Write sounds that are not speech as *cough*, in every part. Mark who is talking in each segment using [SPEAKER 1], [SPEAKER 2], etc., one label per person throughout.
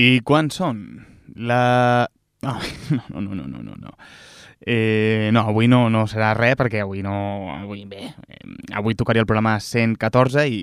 [SPEAKER 1] I quan són? La... Ah, *laughs* no, no, no, no, no, no. Eh, no, avui no, no serà res perquè avui no... Avui, bé, eh, avui tocaria el programa 114 i...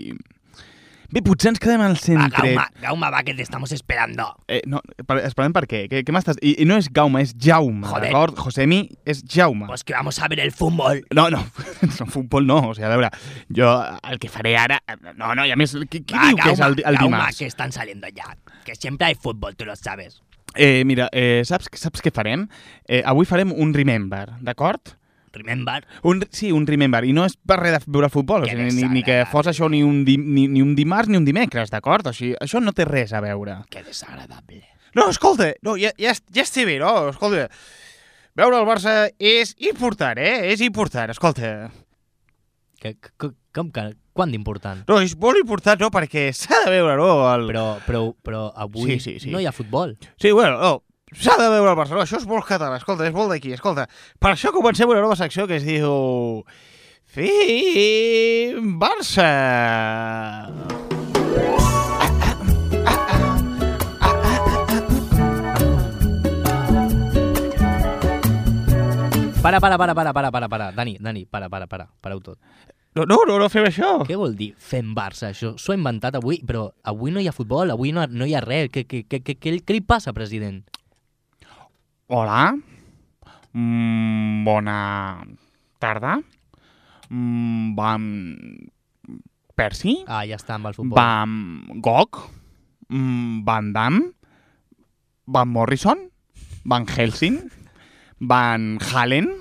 [SPEAKER 1] Bé, potser ens quedem al
[SPEAKER 2] Va,
[SPEAKER 1] 113.
[SPEAKER 2] Gauma, Gauma, va, que te estamos esperando.
[SPEAKER 1] Eh, no, per, esperem per què? Què, què m'estàs... I, I no és Gaume, és Jaume,
[SPEAKER 2] Joder.
[SPEAKER 1] d'acord? Josemi és Jaume.
[SPEAKER 2] Pues que vamos a ver el fútbol.
[SPEAKER 1] No, *laughs* no, no, futbol no, o sigui, a veure, jo el que faré ara... No, no, i a més, qui, qui
[SPEAKER 2] Va,
[SPEAKER 1] diu que és el, di- el
[SPEAKER 2] Gauma,
[SPEAKER 1] dimarts?
[SPEAKER 2] que están saliendo ya. Que siempre hay fútbol, tú lo sabes.
[SPEAKER 1] Eh, mira, eh, saps, saps què farem? Eh, avui farem un Remember, d'acord?
[SPEAKER 2] Remember.
[SPEAKER 1] Un, sí, un Remember, i no és per res de veure futbol, o
[SPEAKER 2] Que
[SPEAKER 1] sigui, ni, ni que
[SPEAKER 2] desagradable.
[SPEAKER 1] fos això ni un, di, ni, ni un dimarts ni un dimecres, d'acord? O sigui, això no té res a veure.
[SPEAKER 2] Qué desagradable.
[SPEAKER 1] No, escolta, no, ja, ja, ja estic bé, no? Escolta, veure el Barça és important, eh? És important, escolta.
[SPEAKER 2] Que, que, com que, quan d'important?
[SPEAKER 1] No, és molt important, no? Perquè s'ha de veure, no? El...
[SPEAKER 2] Però, però, però avui
[SPEAKER 1] Sí, sí, sí.
[SPEAKER 2] no hi ha futbol.
[SPEAKER 1] Sí, bueno, no. S'ha de veure el Barcelona, això és molt català, escolta, és molt d'aquí, escolta. Per això comencem una nova secció que es diu... Fim Barça!
[SPEAKER 2] Para, para, para, para, para, para, para. Dani, Dani, para, para, para, pareu tot.
[SPEAKER 1] No, no, no, no fem això!
[SPEAKER 2] Què vol dir fem Barça? Això s'ho ha inventat avui, però avui no hi ha futbol, avui no, no hi ha res. Què, què, què, què, què, què li passa, president?
[SPEAKER 1] Hola. Mm, bona tarda. Mm, vam... Persi?
[SPEAKER 2] Ah, ja està amb el futbol.
[SPEAKER 1] Vam Gog? Mm, Van Damme? Van Morrison? Van Helsing? Van Halen?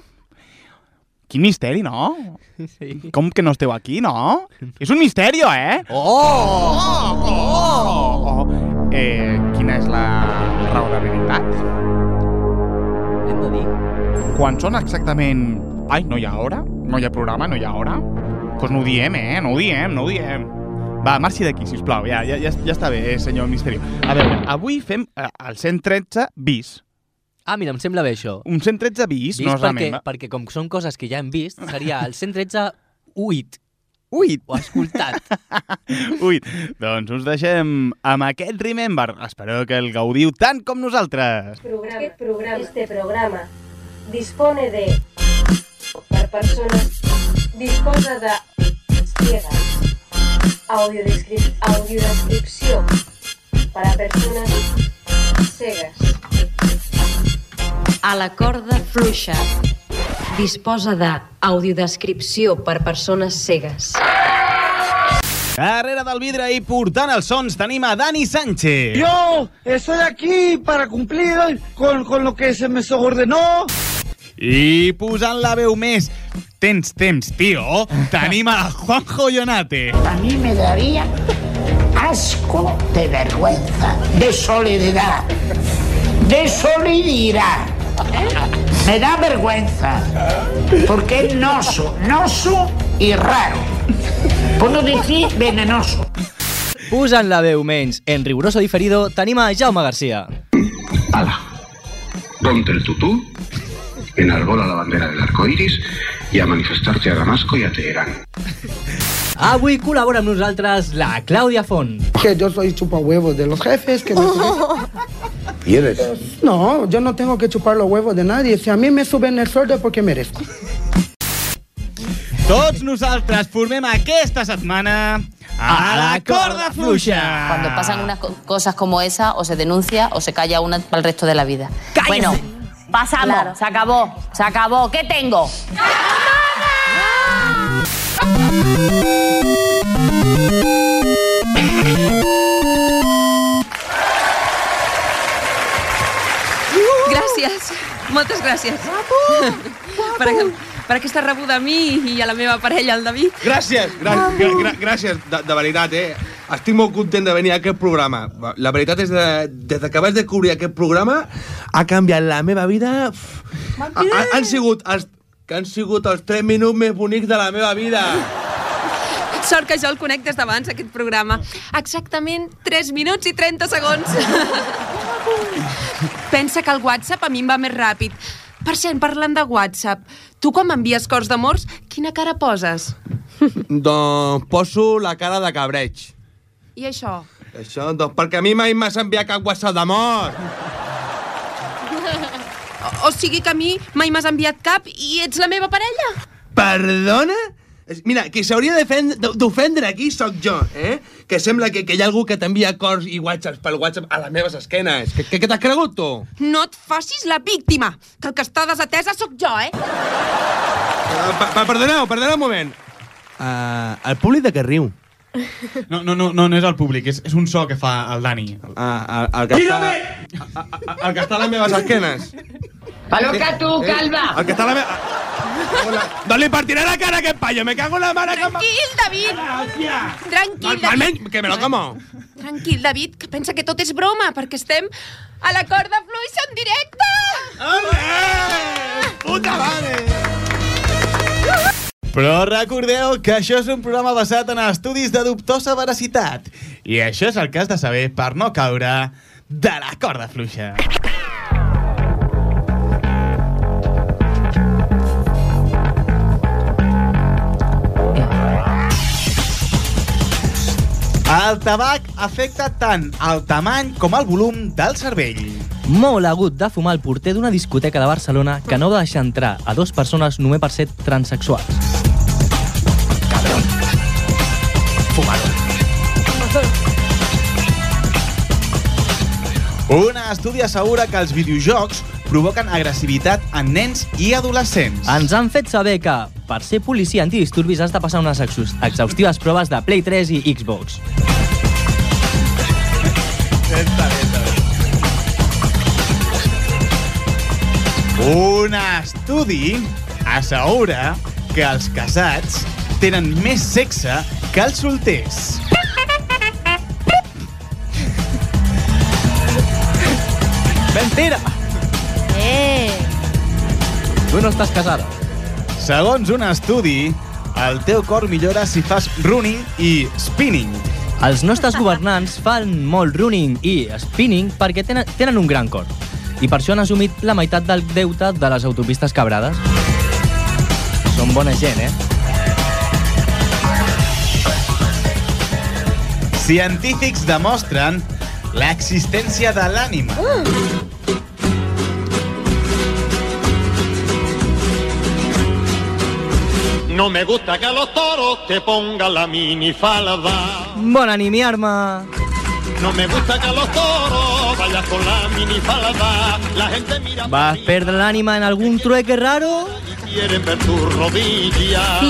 [SPEAKER 1] Quin misteri, no?
[SPEAKER 2] *laughs* Sí.
[SPEAKER 1] Com que no esteu aquí, no? És un misteri, eh?
[SPEAKER 2] Oh!
[SPEAKER 1] Oh, oh. Eh, quina és la raó de veritat?
[SPEAKER 2] Hem de dir.
[SPEAKER 1] Quan són exactament... Ai, no hi ha hora? No hi ha programa? No hi ha hora? Doncs pues no ho diem, eh? No ho diem, no ho diem. Va, marxi d'aquí, sisplau. Ja, ja, ja, ja està bé, eh, senyor Misterio. A veure, avui fem eh, el 113 bis.
[SPEAKER 2] Ah, mira, em sembla bé això.
[SPEAKER 1] Un 113 bis,
[SPEAKER 2] Vist
[SPEAKER 1] no es
[SPEAKER 2] perquè,
[SPEAKER 1] remembra.
[SPEAKER 2] perquè com són coses que ja hem vist, seria el 113 8
[SPEAKER 1] Ui,
[SPEAKER 2] o escoltat.
[SPEAKER 1] *laughs* ui. Doncs us deixem amb aquest Remember. Espero que el gaudiu tant com nosaltres.
[SPEAKER 3] Programa, programa. Este programa dispone de per persona disposa de ciega audiodescrip audiodescripció para persones cegues
[SPEAKER 4] A la corda fluixa. Disposa de audiodescripció per persones cegues.
[SPEAKER 1] Darrere del vidre i portant els sons tenim a Dani Sánchez.
[SPEAKER 5] Yo estoy aquí para cumplir con, con lo que se me ordenó.
[SPEAKER 1] I posant la veu més tens temps, tio, tenim a Juanjo Ionate.
[SPEAKER 6] A mí me daría asco de vergüenza, de solidaridad, de solidaridad. Me da vergüenza, porque es noso, noso y raro. Por no decir venenoso.
[SPEAKER 2] Posant la veu menys en rigoroso diferido, tenim a Jaume Garcia.
[SPEAKER 7] ala. Ponte el tutú, enarbola la bandera del arco iris y a manifestarte a Damasco y a Teherán.
[SPEAKER 2] Avui col·labora amb nosaltres la Clàudia Font.
[SPEAKER 5] Que yo soy chupa huevos de los jefes. Que me ¿Quieres? No, yo no tengo que chupar los huevos de nadie. Si a mí me suben el sueldo es porque merezco.
[SPEAKER 1] Tots nosaltres formem aquesta setmana a la corda fluixa.
[SPEAKER 8] Cuando pasan unas co- cosas como esa, o se denuncia o se calla una para el resto de la vida. Bueno, pasamos, se acabó, se acabó. ¿Qué tengo?
[SPEAKER 9] Gràcies, moltes gràcies. per, a, per aquesta rebuda a mi i a la meva parella, el David.
[SPEAKER 10] Gràcies, grà- grà- grà- gràcies, de, de veritat, eh? Estic molt content de venir a aquest programa. Va, La veritat és que de, des que vaig descobrir aquest programa ha canviat la meva vida... Uf. Ha, ha, han sigut els, que han sigut els 3 minuts més bonics de la meva vida.
[SPEAKER 9] Sort que jo el conec des d'abans, aquest programa. Exactament 3 minuts i 30 segons. Pensa que el WhatsApp a mi em va més ràpid. Per cert, parlant de WhatsApp, tu quan m'envies cors d'amors, quina cara poses?
[SPEAKER 10] doncs poso la cara de cabreig.
[SPEAKER 9] I això?
[SPEAKER 10] Això, doncs perquè a mi mai m'has enviat cap WhatsApp d'amor.
[SPEAKER 9] O, o sigui que a mi mai m'has enviat cap i ets la meva parella.
[SPEAKER 10] Perdona? És- Mira, qui s'hauria d'ofen- d'ofendre aquí sóc jo, eh? Que sembla que, que hi ha algú que t'envia cors i whatsapps pel whatsapp a les meves esquenes. Que, que, que t'has cregut, tu?
[SPEAKER 9] No et facis la víctima, que el que està desatesa sóc jo, eh?
[SPEAKER 10] Pa, pa, perdoneu, perdoneu un moment. Uh, el públic de que riu.
[SPEAKER 11] No, no, no, no, no és el públic, és, és un so que fa el Dani.
[SPEAKER 10] Ah, el, el que està... A- El que està a les meves esquenes.
[SPEAKER 12] Aloca tu,
[SPEAKER 10] Eh,
[SPEAKER 9] Ah.
[SPEAKER 12] calva.
[SPEAKER 10] El que està a la meva... Doncs li partiré la cara a aquest paio, me cago en la mare que... em va-
[SPEAKER 9] Tranquil, David! Tranquil,
[SPEAKER 10] Normalment,
[SPEAKER 9] David.
[SPEAKER 10] que me lo como.
[SPEAKER 9] Tranquil, David, que pensa que tot és broma, perquè estem a la corda fluixa en directe!
[SPEAKER 10] Ole! Puta madre!
[SPEAKER 1] Però recordeu que això és un programa basat en estudis de dubtosa veracitat. I això és el que has de saber per no caure de la corda fluixa. El tabac afecta tant el tamany com el volum del cervell.
[SPEAKER 2] Molt agut de fumar el porter d'una discoteca de Barcelona que no va deixar entrar a dues persones només per ser transexuals.
[SPEAKER 1] Un estudi assegura que els videojocs provoquen agressivitat en nens i adolescents.
[SPEAKER 2] Ens han fet saber que, per ser policia antidisturbis, has de passar unes exhaust- exhaustives proves de Play 3 i Xbox.
[SPEAKER 1] Un estudi assegura que els casats tenen més sexe que els solters. Mentira!
[SPEAKER 8] Eh!
[SPEAKER 1] Tu no estàs casada. Segons un estudi, el teu cor millora si fas running i spinning.
[SPEAKER 2] Els nostres governants fan molt running i spinning perquè tenen, tenen un gran cor. I per això han assumit la meitat del deute de les autopistes quebrades. Són bona gent, eh?
[SPEAKER 1] Científics demostren l'existència de l'ànima.
[SPEAKER 5] No me gusta que a los toros te pongan la minifalda.
[SPEAKER 2] Bon animiar-me!
[SPEAKER 5] No me gusta que a los toros vayas con la minifalda. La gente mira,
[SPEAKER 2] ¿Vas a perder el ánima en algún trueque raro?
[SPEAKER 5] quieren ver tus rodillas.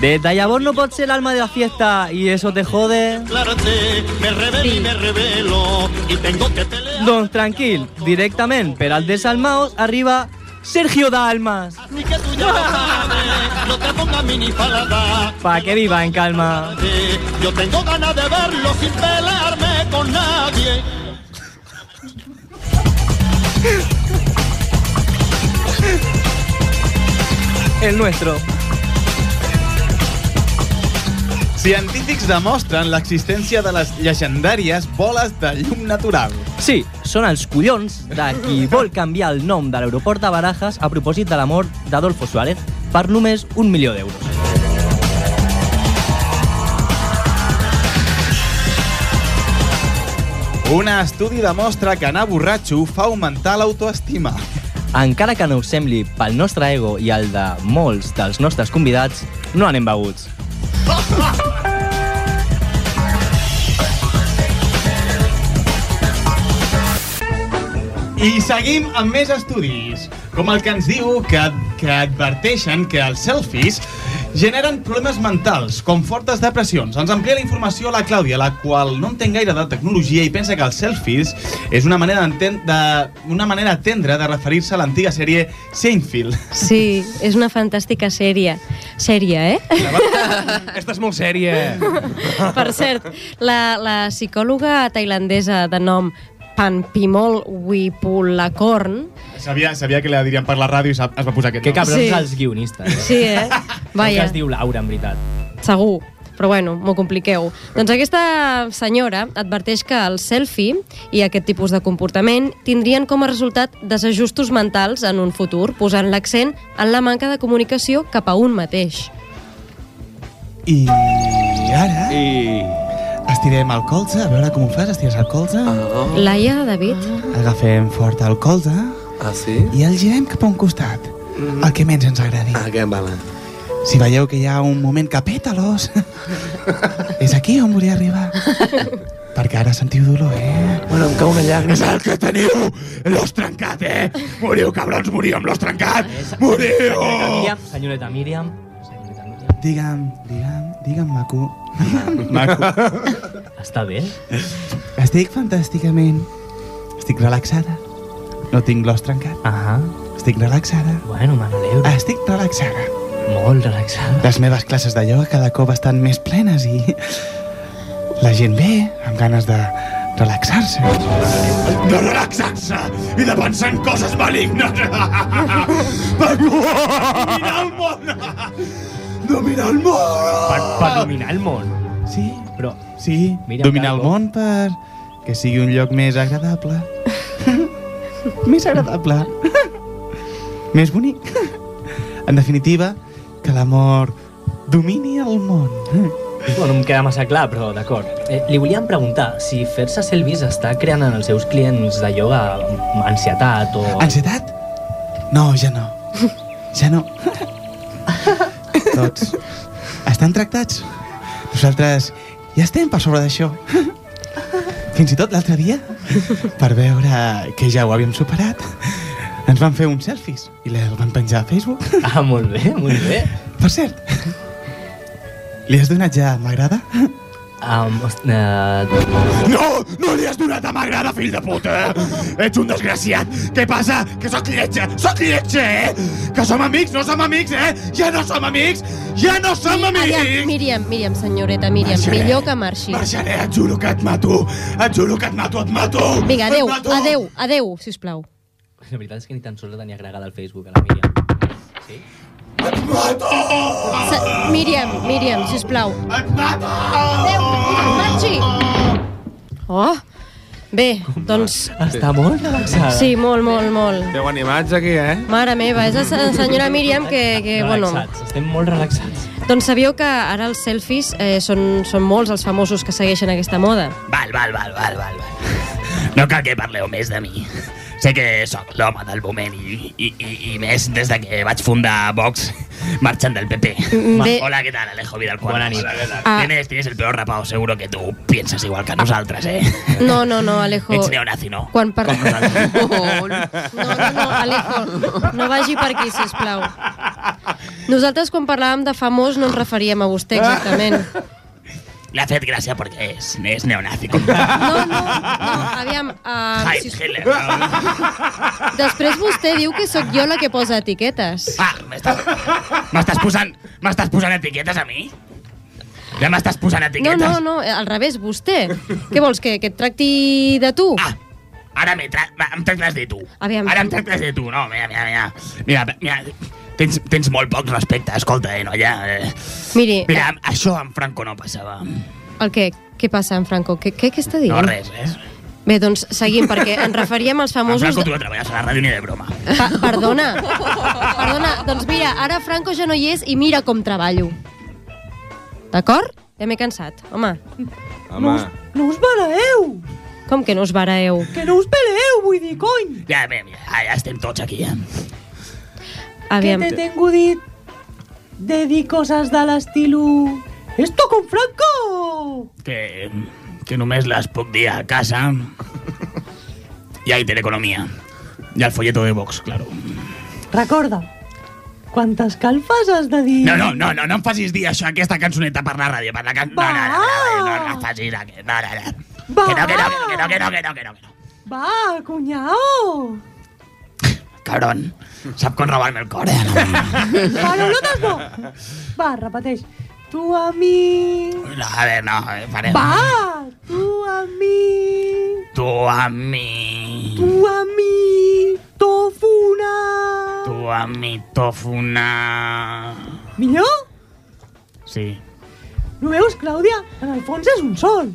[SPEAKER 2] Desde Yabor no pot ser el alma de la fiesta y eso te jode.
[SPEAKER 5] Aclárate, me revelo y me revelo. Y tengo que pelear.
[SPEAKER 2] Don Doncs tranquil, directament per al desalmaos arriba Sergio Dalmas,
[SPEAKER 5] Ni que tú ya lo sabes, no te pongas minifalda.
[SPEAKER 2] pa que viva en calma.
[SPEAKER 5] Eh, Yo tengo ganas de verlo sin pelearme con nadie. *laughs*
[SPEAKER 2] El nuestro.
[SPEAKER 1] Científics demostren l'existència de les llegendàries boles de llum natural.
[SPEAKER 2] Sí, són els collons de qui vol canviar el nom de l'aeroport de Barajas a propòsit de la mort d'Adolfo Suárez per només un milió d'euros.
[SPEAKER 1] Un estudi demostra que anar borratxo fa augmentar l'autoestima.
[SPEAKER 2] Encara que no us sembli pel nostre ego i el de molts dels nostres convidats, no anem beguts.
[SPEAKER 1] I seguim amb més estudis, com el que ens diu que, que adverteixen que els selfies generen problemes mentals, com fortes depressions. Ens amplia la informació la Clàudia, la qual no entén gaire de tecnologia i pensa que els selfies és una manera, d'enten- de, una manera tendra de referir-se a l'antiga sèrie Seinfeld.
[SPEAKER 3] Sí, és una fantàstica sèrie. Sèrie, eh?
[SPEAKER 1] Esta és molt sèria.
[SPEAKER 3] per cert, la, la psicòloga tailandesa de nom Panpimol Wipulakorn
[SPEAKER 11] Sabia, sabia que la dirien per la ràdio i sap- es va posar aquest
[SPEAKER 2] Que cabrons
[SPEAKER 3] Sí.
[SPEAKER 2] els guionistes.
[SPEAKER 3] Sí, eh?
[SPEAKER 2] Que
[SPEAKER 3] Vaja,
[SPEAKER 2] es diu Laura, en veritat.
[SPEAKER 3] segur. Però bueno, m'ho compliqueu. Doncs aquesta senyora adverteix que el selfie i aquest tipus de comportament tindrien com a resultat desajustos mentals en un futur, posant l'accent en la manca de comunicació cap a un mateix.
[SPEAKER 1] I ara... I... Estirem el colze, a veure com ho fas, estires el colze. Oh.
[SPEAKER 3] Laia, David?
[SPEAKER 1] Agafem fort el colze.
[SPEAKER 10] Ah, sí?
[SPEAKER 1] I el girem cap a un costat, mm. el que menys ens agradi.
[SPEAKER 10] Ah, que vale.
[SPEAKER 1] Si veieu que hi ha un moment que peta
[SPEAKER 10] *laughs*
[SPEAKER 1] l'os, és aquí on volia arribar. Perquè ara sentiu dolor, eh?
[SPEAKER 10] Bueno, em cau una llàgrima.
[SPEAKER 1] És el que teniu! L'os trencat, eh? Moriu, cabrons, moriu amb l'os trencat!
[SPEAKER 2] Senyoreta
[SPEAKER 1] Moriu!
[SPEAKER 2] Míriam, senyoreta Míriam.
[SPEAKER 1] Digue'm, digue'm, digue'm, maco. *laughs*
[SPEAKER 2] Maco. Està bé?
[SPEAKER 1] Estic fantàsticament. Estic relaxada. No tinc l'os trencat.
[SPEAKER 2] Ah
[SPEAKER 1] Estic relaxada.
[SPEAKER 2] Bueno, me n'alegro.
[SPEAKER 1] Estic relaxada.
[SPEAKER 2] Molt relaxada.
[SPEAKER 1] Les meves classes de ioga cada cop estan més plenes i... La gent ve amb ganes de relaxar-se.
[SPEAKER 5] De relaxar-se i de pensar en coses malignes. Per dominar el món. Dominar el món.
[SPEAKER 2] Per, per dominar el món.
[SPEAKER 1] Sí,
[SPEAKER 2] però...
[SPEAKER 1] Sí,
[SPEAKER 2] Mira,
[SPEAKER 1] dominar el
[SPEAKER 2] Calvo.
[SPEAKER 1] món per que sigui un lloc més agradable. més agradable. més bonic. *laughs* en definitiva, que l'amor domini el món.
[SPEAKER 2] *laughs* Bueno, no em queda massa clar, però d'acord. Eh, li volíem preguntar si fer-se selfies està creant en els seus clients de ioga ansietat o...
[SPEAKER 1] Ansietat? No, ja no. Ja no. Tots estan tractats. Nosaltres ja estem per sobre d'això. Fins i tot l'altre dia, per veure que ja ho havíem superat, ens van fer uns selfies i les van penjar a Facebook.
[SPEAKER 2] Ah, molt bé, molt bé.
[SPEAKER 1] Per cert, li has donat ja m'agrada?
[SPEAKER 2] Um, eh,
[SPEAKER 5] No, no li has donat a m'agrada, fill de puta! Ets un desgraciat! Què passa? Que sóc lletja! Sóc lletja, eh? Que som amics, no som amics, eh? Ja no som amics! Ja no som
[SPEAKER 3] Aviam,
[SPEAKER 5] amics!
[SPEAKER 3] Míriam, Míriam, senyoreta, Míriam,
[SPEAKER 5] Marxaré.
[SPEAKER 3] millor que marxi.
[SPEAKER 5] Marxaré, et juro que et mato! Et juro que et mato, et mato!
[SPEAKER 3] Vinga,
[SPEAKER 5] Et
[SPEAKER 3] adeu,
[SPEAKER 5] mato!
[SPEAKER 3] adeu, adeu, sisplau.
[SPEAKER 2] La veritat és que ni tan sols la tenia agregada al Facebook, a la Míriam.
[SPEAKER 3] Sa Míriam, Míriam, sisplau. Adeu, marxi! Oh, bé, doncs...
[SPEAKER 2] Està molt relaxada.
[SPEAKER 3] Sí, molt, molt, molt.
[SPEAKER 10] Déu animats aquí, eh?
[SPEAKER 3] Mare meva, és la se- senyora Míriam que, que bueno...
[SPEAKER 2] Relaxats, estem molt relaxats.
[SPEAKER 3] Doncs sabíeu que ara els selfies eh, són, són molts els famosos que segueixen aquesta moda.
[SPEAKER 6] Val, val, val, val, val. val. No cal que parleu més de mi. Sé que sóc l'home del moment i, i, i, i més des de que vaig fundar Vox marxant del PP.
[SPEAKER 3] Mm, bé.
[SPEAKER 6] Hola, ¿qué tal, Alejo Vidal Juan?
[SPEAKER 2] Bona nit.
[SPEAKER 6] Hola, ¿qué tal?
[SPEAKER 3] Ah.
[SPEAKER 6] Tienes, tienes el peor rapado, seguro que tú piensas igual que nosaltres, ¿eh?
[SPEAKER 3] No, no, no, Alejo.
[SPEAKER 6] Ets neonazi, no?
[SPEAKER 3] Quan par...
[SPEAKER 6] Com nosaltres.
[SPEAKER 3] No, no, no, Alejo, no vagi per aquí, sisplau. Nosaltres, quan parlàvem de famós, no ens referíem a vostè exactament.
[SPEAKER 6] *laughs* Le haced gracia porque es, es neonazi.
[SPEAKER 3] No, no, no, aviam... Uh,
[SPEAKER 6] Heil-
[SPEAKER 3] si...
[SPEAKER 6] Hitler, no.
[SPEAKER 3] Després vostè diu que sóc jo la que posa etiquetes.
[SPEAKER 6] Ah, m'estàs m'estàs posant, m'estàs posant etiquetes a mi? Ja m'estàs posant
[SPEAKER 3] No,
[SPEAKER 6] etiquetes?
[SPEAKER 3] no, no, eh, al revés, vostè. Què vols, que, que et tracti de tu? Ah,
[SPEAKER 6] Ara me tra em tractes de tu.
[SPEAKER 3] Aviam.
[SPEAKER 6] Ara em tractes de tu. No, mira, mira, mira. Mira, mira. Tens, tens molt poc respecte, escolta, eh, noia. Eh,
[SPEAKER 3] Miri,
[SPEAKER 6] Mira, amb- això amb Franco no passava.
[SPEAKER 3] el què? Què passa, en Franco? Què, què, què està dient?
[SPEAKER 6] No, res, eh?
[SPEAKER 3] Bé, doncs seguim, perquè ens referíem
[SPEAKER 6] *laughs*
[SPEAKER 3] als
[SPEAKER 6] Amb
[SPEAKER 3] famosos...
[SPEAKER 6] Franco tu no treballes a la ràdio ni de broma.
[SPEAKER 3] Pa perdona, perdona, doncs mira, ara Franco ja no hi és i mira com treballo. D'acord? Ja m'he cansat, home.
[SPEAKER 10] Home,
[SPEAKER 3] No us baraeu! Com que no us baraeu? Que no us peleeu, vull dir, cony!
[SPEAKER 6] Ja, mira, mira, ah, ja estem tots aquí, eh?
[SPEAKER 3] Aviam.
[SPEAKER 13] Que te tengo dit de dir coses de l'estilo... Esto con Franco!
[SPEAKER 6] Que, que només les puc dir a casa. I a Intereconomia. I al folleto de Vox, claro.
[SPEAKER 13] Recorda, quantes calfes has de dir...
[SPEAKER 6] No, no, no, no, no em facis dir això, aquesta cançoneta per la ràdio, per la can... No, no, no, no, no, no, no, facis aquest, no, no, no.
[SPEAKER 13] Va.
[SPEAKER 6] Que no, que no, que no, que no, que no, que no, que no.
[SPEAKER 13] Va, cunyao!
[SPEAKER 6] Cabron, sap com robar-me el cor, eh?
[SPEAKER 13] Paraulotes Ah, no! Va, repeteix. Tu a mi...
[SPEAKER 6] No, a veure, no, eh, farem...
[SPEAKER 13] Va, tu a mi...
[SPEAKER 6] Tu a mi,
[SPEAKER 13] Tu a mi... Tofuna...
[SPEAKER 6] tu a mi, tofuna...
[SPEAKER 13] Millor?
[SPEAKER 6] Sí.
[SPEAKER 13] No veus, Clàudia? En el fons és un sol.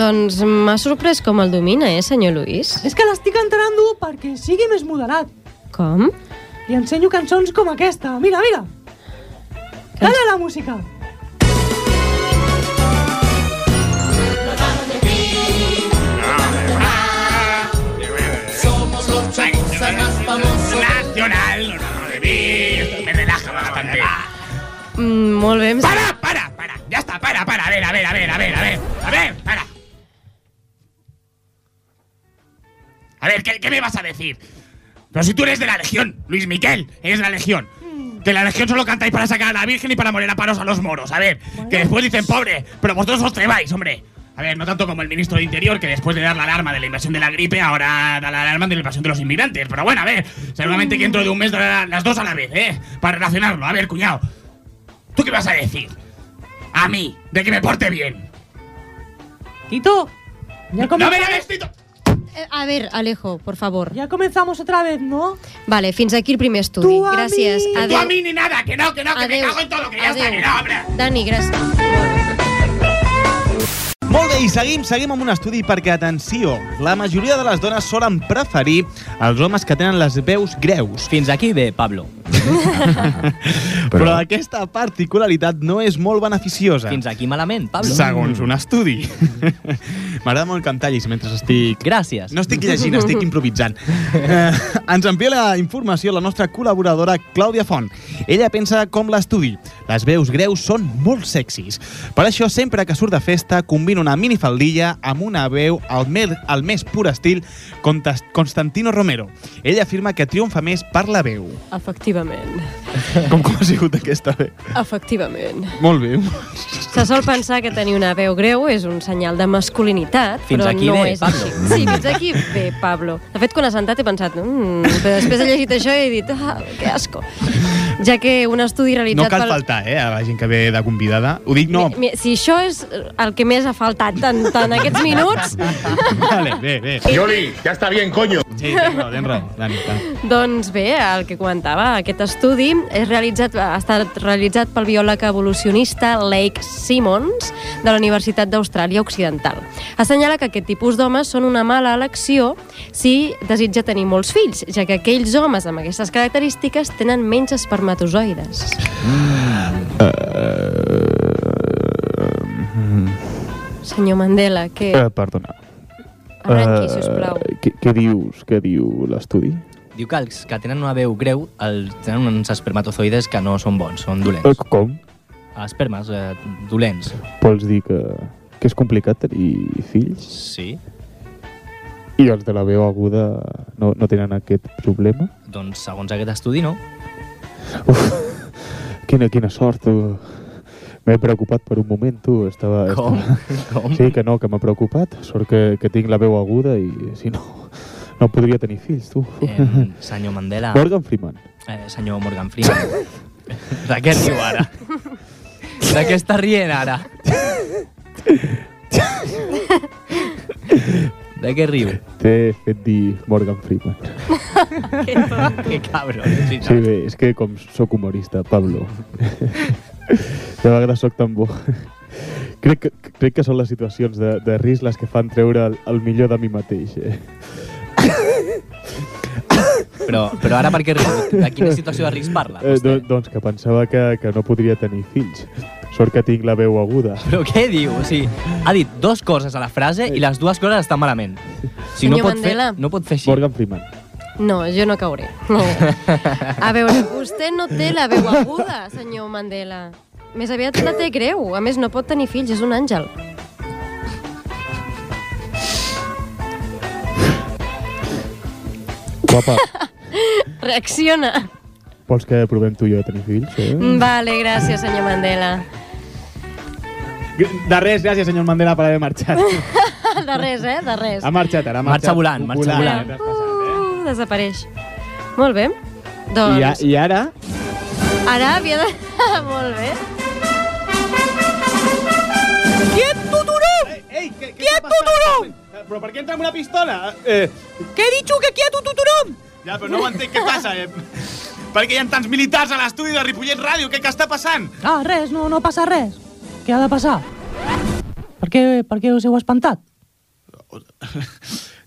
[SPEAKER 3] Doncs m'ha sorprès com el domina, eh, senyor Luis?
[SPEAKER 13] És que l'estic entrenant-ho perquè sigui més moderat.
[SPEAKER 3] Com?
[SPEAKER 13] Li ensenyo cançons com aquesta. Mira, mira. Calla la música.
[SPEAKER 5] emocional, no, no, no, de mí, esto me relaja bastante.
[SPEAKER 3] Mm, molt bé. Em...
[SPEAKER 5] ¡Para, para, para! Ya está, para, para, a ver, a ver, a ver, a ver, a ver, a ver, para. A ver, ¿qué, qué me vas a decir? Pero si tú eres de la Legión, Luis Miquel, eres de la Legión. Que la Legión solo cantáis para sacar a la Virgen y para morir a paros a los moros. A ver, que después dicen pobre, pero vosotros os trebáis, hombre. A ver, no tanto como el ministro de Interior, que después de dar la alarma de la invasión de la gripe, ahora da la alarma de la invasión de los inmigrantes. Pero bueno, a ver, seguramente que dentro de un mes dará las dos a la vez, ¿eh? Para relacionarlo. A ver, cuñado, ¿tú qué vas a decir? A mí, de que me porte bien.
[SPEAKER 13] Tito, ya
[SPEAKER 5] ¡No me
[SPEAKER 13] comenzamos.
[SPEAKER 5] la ves, Tito!
[SPEAKER 3] Eh, A ver, Alejo, por favor.
[SPEAKER 13] Ya comenzamos otra vez, ¿no?
[SPEAKER 3] Vale, fins aquí el primer estudi.
[SPEAKER 13] Tu a mi.
[SPEAKER 3] gràcies.
[SPEAKER 13] Tu a
[SPEAKER 3] Adéu.
[SPEAKER 5] mi ni nada, que no, que no, que me
[SPEAKER 3] Adéu.
[SPEAKER 5] cago en todo, que ya está,
[SPEAKER 3] Adéu.
[SPEAKER 5] que no, hombre.
[SPEAKER 3] Dani, gràcies.
[SPEAKER 1] Molt bé, i seguim, seguim amb un estudi perquè, atenció, la majoria de les dones solen preferir els homes que tenen les veus greus.
[SPEAKER 2] Fins aquí bé, Pablo.
[SPEAKER 1] *laughs* Però aquesta particularitat no és molt beneficiosa.
[SPEAKER 2] Fins aquí malament, Pablo.
[SPEAKER 1] Segons un estudi. M'agrada molt que em tallis mentre estic...
[SPEAKER 2] Gràcies.
[SPEAKER 1] No estic llegint, *laughs* estic improvisant. Eh, ens envia la informació la nostra col·laboradora Clàudia Font. Ella pensa com l'estudi. Les veus greus són molt sexis. Per això, sempre que surt de festa, combina una minifaldilla amb una veu al, mer, al més pur estil Contas- Constantino Romero. Ella afirma que triomfa més per la veu.
[SPEAKER 3] Efectivament.
[SPEAKER 1] Com, com ha sigut aquesta veu?
[SPEAKER 3] Efectivament.
[SPEAKER 1] Molt bé.
[SPEAKER 3] Se sol pensar que tenir una veu greu és un senyal de masculinitat,
[SPEAKER 2] Fins
[SPEAKER 3] però
[SPEAKER 2] aquí
[SPEAKER 3] no
[SPEAKER 2] bé,
[SPEAKER 3] és
[SPEAKER 2] Pablo.
[SPEAKER 3] així. Sí, fins aquí bé, Pablo. De fet, quan has sentat he pensat... Mm, però després he llegit això i he dit... Ah, que asco. Ja que un estudi realitzat...
[SPEAKER 11] No cal
[SPEAKER 3] pel...
[SPEAKER 11] faltar, eh, a la gent que ve de convidada. Ho dic no.
[SPEAKER 3] Mi- Si això és el que més ha faltat en, en aquests minuts,
[SPEAKER 1] *laughs* Vale, bé, bé.
[SPEAKER 5] Yoli, ya está bien, coño.
[SPEAKER 1] Sí, tens raó, tens raó. Dani, Dani.
[SPEAKER 3] doncs bé, el que comentava, aquest estudi és realitzat, ha estat realitzat pel biòleg evolucionista Lake Simmons de la Universitat d'Austràlia Occidental. Assenyala que aquest tipus d'homes són una mala elecció si desitja tenir molts fills, ja que aquells homes amb aquestes característiques tenen menys espermatozoides.
[SPEAKER 14] Eh,
[SPEAKER 3] Senyor Mandela, què?
[SPEAKER 14] Eh, perdona.
[SPEAKER 3] Arrenqui, sisplau.
[SPEAKER 14] Eh, què, què dius? Què diu l'estudi?
[SPEAKER 2] Diu que els que tenen una veu greu el, tenen uns espermatozoides que no són bons, són
[SPEAKER 14] Eh,
[SPEAKER 2] dolents.
[SPEAKER 14] com?
[SPEAKER 2] Espermes, eh, dolents.
[SPEAKER 14] Vols dir que, que és complicat tenir fills?
[SPEAKER 2] Sí,
[SPEAKER 14] I els de la veu aguda no, no tenen aquest problema?
[SPEAKER 2] doncs segons aquest estudi no.
[SPEAKER 14] Uf, *laughs* quina, quina sort, tu. M'he preocupat per un moment, tu. Estava,
[SPEAKER 2] Com?
[SPEAKER 14] Estava...
[SPEAKER 2] *laughs* Com?
[SPEAKER 14] Sí, que no, que m'ha preocupat. Sort que, que tinc la veu aguda i, si no, *laughs* no podria tenir fills, tu. *laughs*
[SPEAKER 2] Eh, senyor Mandela...
[SPEAKER 14] Morgan Freeman.
[SPEAKER 2] Eh, senyor Morgan Freeman. *laughs* de què riu ara? De què està rient ara? de què riu?
[SPEAKER 14] T'he fet dir Morgan Freeman.
[SPEAKER 2] que cabron. Sí,
[SPEAKER 14] Sí, bé, és que com sóc humorista,
[SPEAKER 2] *laughs*
[SPEAKER 14] Pablo. De vegades sóc tan bo. Crec que, crec que són les situacions de, de risc les que fan treure el, el millor de mi mateix. Eh?
[SPEAKER 2] Però, però ara per què riu? De quina situació de risc parla?
[SPEAKER 14] Eh, do, doncs que pensava que, que no podria tenir fills. Sort que tinc la veu aguda.
[SPEAKER 2] Però què diu? O sigui, ha dit dos coses a la frase i les dues coses estan malament. O sigui, no
[SPEAKER 3] Senyor
[SPEAKER 2] pot, fer,
[SPEAKER 3] Mandela.
[SPEAKER 2] no pot fer així.
[SPEAKER 14] Morgan Freeman.
[SPEAKER 3] No, jo no cauré. No. A veure, vostè no té la veu aguda, senyor Mandela. Més aviat la té greu. A més, no pot tenir fills, és un àngel.
[SPEAKER 14] Guapa,
[SPEAKER 3] Reacciona.
[SPEAKER 14] vols que provem tu i jo de tenir fills? Eh?
[SPEAKER 3] Mm,
[SPEAKER 2] Mm,
[SPEAKER 3] Vale, gràcies, senyor Mandela. *laughs*
[SPEAKER 1] De res, gràcies, senyor Mandela, per haver marxat.
[SPEAKER 3] De res, eh? De res.
[SPEAKER 1] Ha marxat ara, ha
[SPEAKER 2] Marxa
[SPEAKER 1] marxat.
[SPEAKER 2] volant, marxa volant.
[SPEAKER 3] Uh, desapareix. Molt bé.
[SPEAKER 1] I, a,
[SPEAKER 3] Doncs,
[SPEAKER 1] I ara...
[SPEAKER 3] ara havia de... *laughs* Molt bé.
[SPEAKER 13] ¡Quieto, duro!
[SPEAKER 1] ¡Ey, qué,
[SPEAKER 13] quieto duro!
[SPEAKER 1] Però per què entra amb una pistola? Eh,
[SPEAKER 13] ¿Qué he dicho que quieto, tuturón?
[SPEAKER 1] ja, però no ho entenc què passa. Eh? Per què hi ha tants militars a l'estudi de Ripollet Ràdio? Què, què està passant?
[SPEAKER 13] Ah, res, no, no passa res. Què ha de passar? Per què, per què us heu espantat?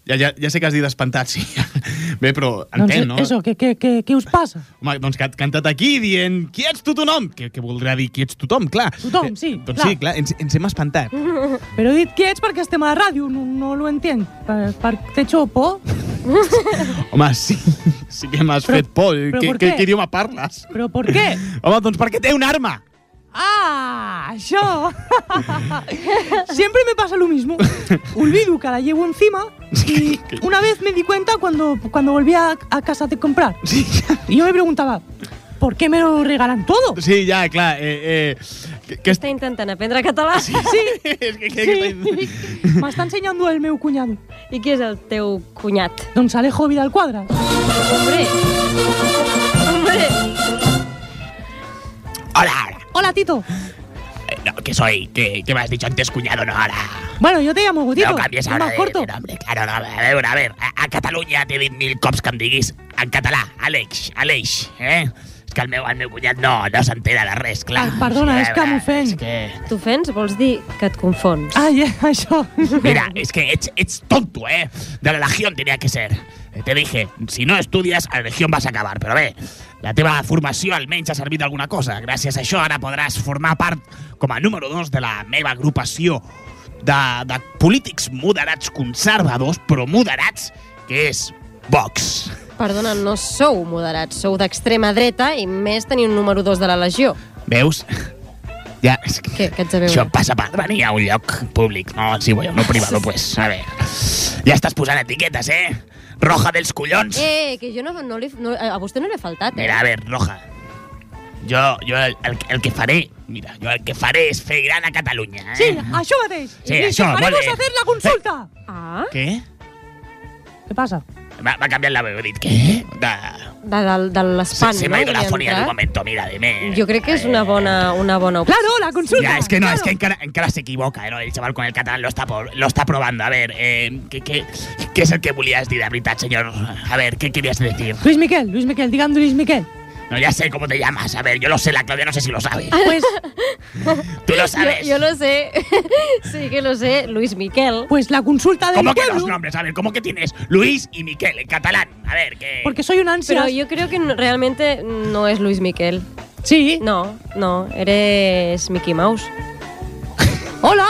[SPEAKER 1] Ja, ja, ja sé que has dit espantat, sí. *laughs* Bé, però entenc, no?
[SPEAKER 13] doncs, Eso, què, què, què, què us passa?
[SPEAKER 1] Home, doncs que ha cantat aquí dient qui ets tu, tothom? Que, que voldrà dir qui ets tothom, clar.
[SPEAKER 13] Tothom, sí,
[SPEAKER 1] Doncs
[SPEAKER 13] clar.
[SPEAKER 1] sí, clar, ens, ens hem espantat.
[SPEAKER 13] Però he dit qui ets perquè estem a la ràdio, no, no lo entenc. Per, per, te xopo?
[SPEAKER 1] Home, sí, *laughs* sí que m'has fet por.
[SPEAKER 13] però
[SPEAKER 1] que,
[SPEAKER 13] per
[SPEAKER 1] que,
[SPEAKER 13] què?
[SPEAKER 1] que idioma parles?
[SPEAKER 13] Però per què?
[SPEAKER 1] *laughs* Home, doncs perquè té una arma.
[SPEAKER 13] ¡Ah! ¡Yo! *laughs* Siempre me pasa lo mismo. Olvido que la llevo
[SPEAKER 6] *laughs*
[SPEAKER 13] encima y una vez me di cuenta cuando, cuando volví a, a casa de comprar. Y yo me preguntaba, ¿por qué me lo regalan todo?
[SPEAKER 1] Sí, ja, clar. Eh, eh, que, que
[SPEAKER 3] Està intentant aprendre català. Sí,
[SPEAKER 1] sí.
[SPEAKER 3] sí. *laughs*
[SPEAKER 13] M'està ensenyant el meu cunyado.
[SPEAKER 3] I qui és el teu cunyat?
[SPEAKER 13] Doncs Alejo Vidal Quadra.
[SPEAKER 3] Hombre! Hombre!
[SPEAKER 6] Hola, hola.
[SPEAKER 13] Hola, Tito.
[SPEAKER 6] Eh, No, que soy, que, que me has dicho antes cuñado, no, ahora.
[SPEAKER 13] Bueno, yo te llamo Gutito.
[SPEAKER 6] no canvies
[SPEAKER 13] es
[SPEAKER 6] ara
[SPEAKER 13] más
[SPEAKER 6] de,
[SPEAKER 13] corto.
[SPEAKER 6] de nombre, claro, no, a veure, a veure, a, a Catalunya t'he dit mil cops que em diguis en català, Aleix, Aleix, eh? És que el meu, el meu cunyat no, no s'entera de res,
[SPEAKER 13] Ah,
[SPEAKER 6] clar.
[SPEAKER 3] Ai, perdona, és que
[SPEAKER 6] m'ofenc. Que...
[SPEAKER 3] T'ofens? Vols dir que et confons.
[SPEAKER 13] Ai, Ah, *laughs* això.
[SPEAKER 6] Mira, és que ets, ets tonto, eh? De la legión tenia que ser. Eh, Te dije, si no estudies, a la legión vas a acabar, però bé, la teva formació almenys ha servit d'alguna cosa. Gràcies a això ara podràs formar part com a número dos de la meva agrupació de, de polítics moderats conservadors, però moderats, que és Vox.
[SPEAKER 3] Perdona, no sou moderats, sou d'extrema dreta i més teniu un número 2 de la legió.
[SPEAKER 6] Veus? *laughs* Ja, és que
[SPEAKER 3] Què, què ets a
[SPEAKER 6] això
[SPEAKER 3] veure?
[SPEAKER 6] em passa per venir a un lloc públic. No, si voy a uno privado, pues, a ver. Ja estàs posant etiquetes, eh? Roja dels collons.
[SPEAKER 3] Eh, que jo no, no, li, no, a vostè no li he faltat, eh?
[SPEAKER 6] Mira, a ver, Roja. Jo, jo el, el, el que faré, mira, jo el que faré és fer gran a Catalunya, eh?
[SPEAKER 13] Sí, això mateix.
[SPEAKER 6] Sí,
[SPEAKER 13] I
[SPEAKER 6] això,
[SPEAKER 13] que
[SPEAKER 6] molt
[SPEAKER 13] faremos
[SPEAKER 6] bé.
[SPEAKER 13] hacer la consulta.
[SPEAKER 3] Ah?
[SPEAKER 6] Què?
[SPEAKER 13] Què passa?
[SPEAKER 6] M'ha m'ha canviat la veu, he dit, què? De...
[SPEAKER 3] De, de, de
[SPEAKER 6] Se,
[SPEAKER 3] l'espant,
[SPEAKER 6] se
[SPEAKER 3] no?
[SPEAKER 6] m'ha ido la
[SPEAKER 3] Havia
[SPEAKER 6] fonia en un
[SPEAKER 3] entrat.
[SPEAKER 6] moment, mira, dime.
[SPEAKER 3] Jo crec que és una bona, una bona opció.
[SPEAKER 13] Claro, la consulta.
[SPEAKER 6] Ya, es que no, es que encara, encara se equivoca, eh, ¿no? El chaval con el catalán lo está, por- lo está probando. A ver, eh, ¿qué, qué, qué es el que bulías de la verdad, señor? A ver, ¿qué querías decir?
[SPEAKER 13] Luis Miquel, Luis Miquel, digan Luis Miquel.
[SPEAKER 6] No, ya sé cómo te llamas. A ver, yo lo sé, la Claudia no sé si lo sabe.
[SPEAKER 3] Pues...
[SPEAKER 6] *laughs* Tú lo sabes.
[SPEAKER 3] *laughs* Yo, yo lo sé. *laughs* sí que lo sé, Luis Miquel.
[SPEAKER 13] Pues la consulta
[SPEAKER 6] ¿Cómo que los nombres? A ver, ¿cómo que tienes Luis y Miquel en catalán? A ver, que...
[SPEAKER 13] Porque soy un ansias.
[SPEAKER 3] Pero yo creo que no- realmente no es Luis Miquel.
[SPEAKER 13] Sí.
[SPEAKER 3] No, no, eres Mickey Mouse.
[SPEAKER 13] Hola.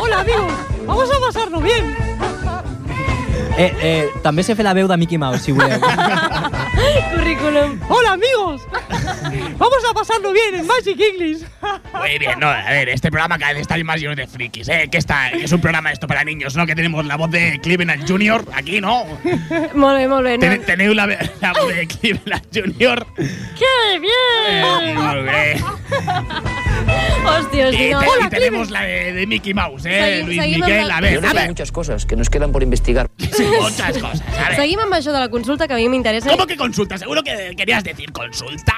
[SPEAKER 13] Hola, amigos. Vamos a pasarlo bien.
[SPEAKER 2] Eh, eh, també sé fer la veu de Mickey Mouse, si voleu.
[SPEAKER 3] Currículum.
[SPEAKER 13] Hola, amigos. Vamos a pasarlo bien en Magic English.
[SPEAKER 6] Muy bien, no, a ver, este programa cada vez está más lleno de frikis, ¿eh? Que está, que es un programa esto para niños, ¿no? Que tenemos la voz de Cleveland Jr.
[SPEAKER 3] *laughs*
[SPEAKER 6] aquí, ¿no?
[SPEAKER 3] Molt bé, molt bé. No?
[SPEAKER 6] Ten- tenéis la, la voz de Cleveland Jr.
[SPEAKER 3] Que bien!
[SPEAKER 6] Muy
[SPEAKER 3] *laughs*
[SPEAKER 6] bien.
[SPEAKER 3] *laughs* Hòstia,
[SPEAKER 6] Y,
[SPEAKER 3] hòstia.
[SPEAKER 6] te- y tenemos la de, de Mickey Mouse, ¿eh?
[SPEAKER 3] Seguim-
[SPEAKER 6] Luis
[SPEAKER 3] seguim amb
[SPEAKER 6] Miguel,
[SPEAKER 3] la-
[SPEAKER 6] a ver, a ver.
[SPEAKER 15] muchas cosas que nos quedan por investigar.
[SPEAKER 6] Sí, muchas cosas, a ver.
[SPEAKER 3] Seguim amb això de la consulta, que a mi m'interessa.
[SPEAKER 6] ¿Cómo que consulta? Seguro que querías decir consulta.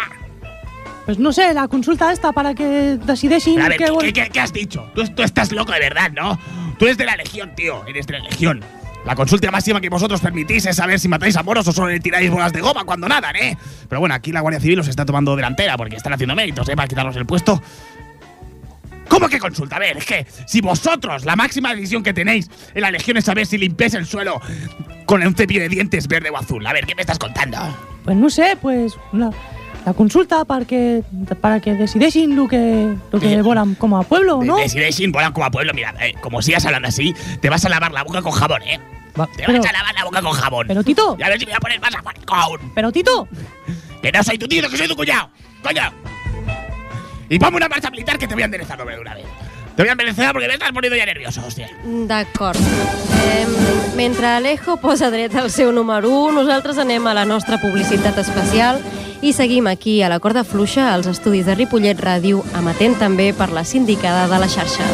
[SPEAKER 13] Pues no sé, la consulta esta para que decideixin
[SPEAKER 6] A ver,
[SPEAKER 13] que...
[SPEAKER 6] ¿qué, qué- qué has dicho? Tú, tú estás loco de verdad, ¿no? Tú eres de la Legión, tío. este Eres de la Legión. La consulta máxima que vosotros permitís es saber si matáis a moros o solo le tiráis bolas de goma cuando nadan, ¿eh? Pero bueno, aquí la Guardia Civil os está tomando delantera porque están haciendo méritos, ¿eh? Para quitarnos el puesto. ¿Cómo que consulta? A ver, es que si vosotros la máxima decisión que tenéis en la Legión es saber si limpiáis el suelo con un cepillo de dientes verde o azul. A ver, ¿qué me estás contando?
[SPEAKER 13] Pues no sé, pues la, la consulta para que, para que decideixin lo que, lo que volen com a pueblo,
[SPEAKER 6] De-
[SPEAKER 13] ¿no?
[SPEAKER 6] de Sideshin volan como a pueblo. Mira, eh, como sigas hablando así, te vas a lavar la boca con jabón, ¿eh?
[SPEAKER 13] Va,
[SPEAKER 6] Te
[SPEAKER 13] pero-
[SPEAKER 6] vas a lavar la boca con jabón.
[SPEAKER 13] Pero, Tito.
[SPEAKER 6] Ya ves si me voy a poner más aguacón.
[SPEAKER 13] Pero Tito,
[SPEAKER 6] Que no soy tu tío, que soy tu cuñado. ¡Coño! Y ponme una marcha militar que te voy a enderezar, hombre, de una vez. Te voy a enderezar porque me estás poniendo ya nervioso, hostia.
[SPEAKER 3] D'acord. Eh, mentre Alejo posa dret al seu número 1, nosaltres anem a la nostra publicitat especial i seguim aquí a la corda fluixa als estudis de Ripollet Ràdio, amatent també per la sindicada de la xarxa.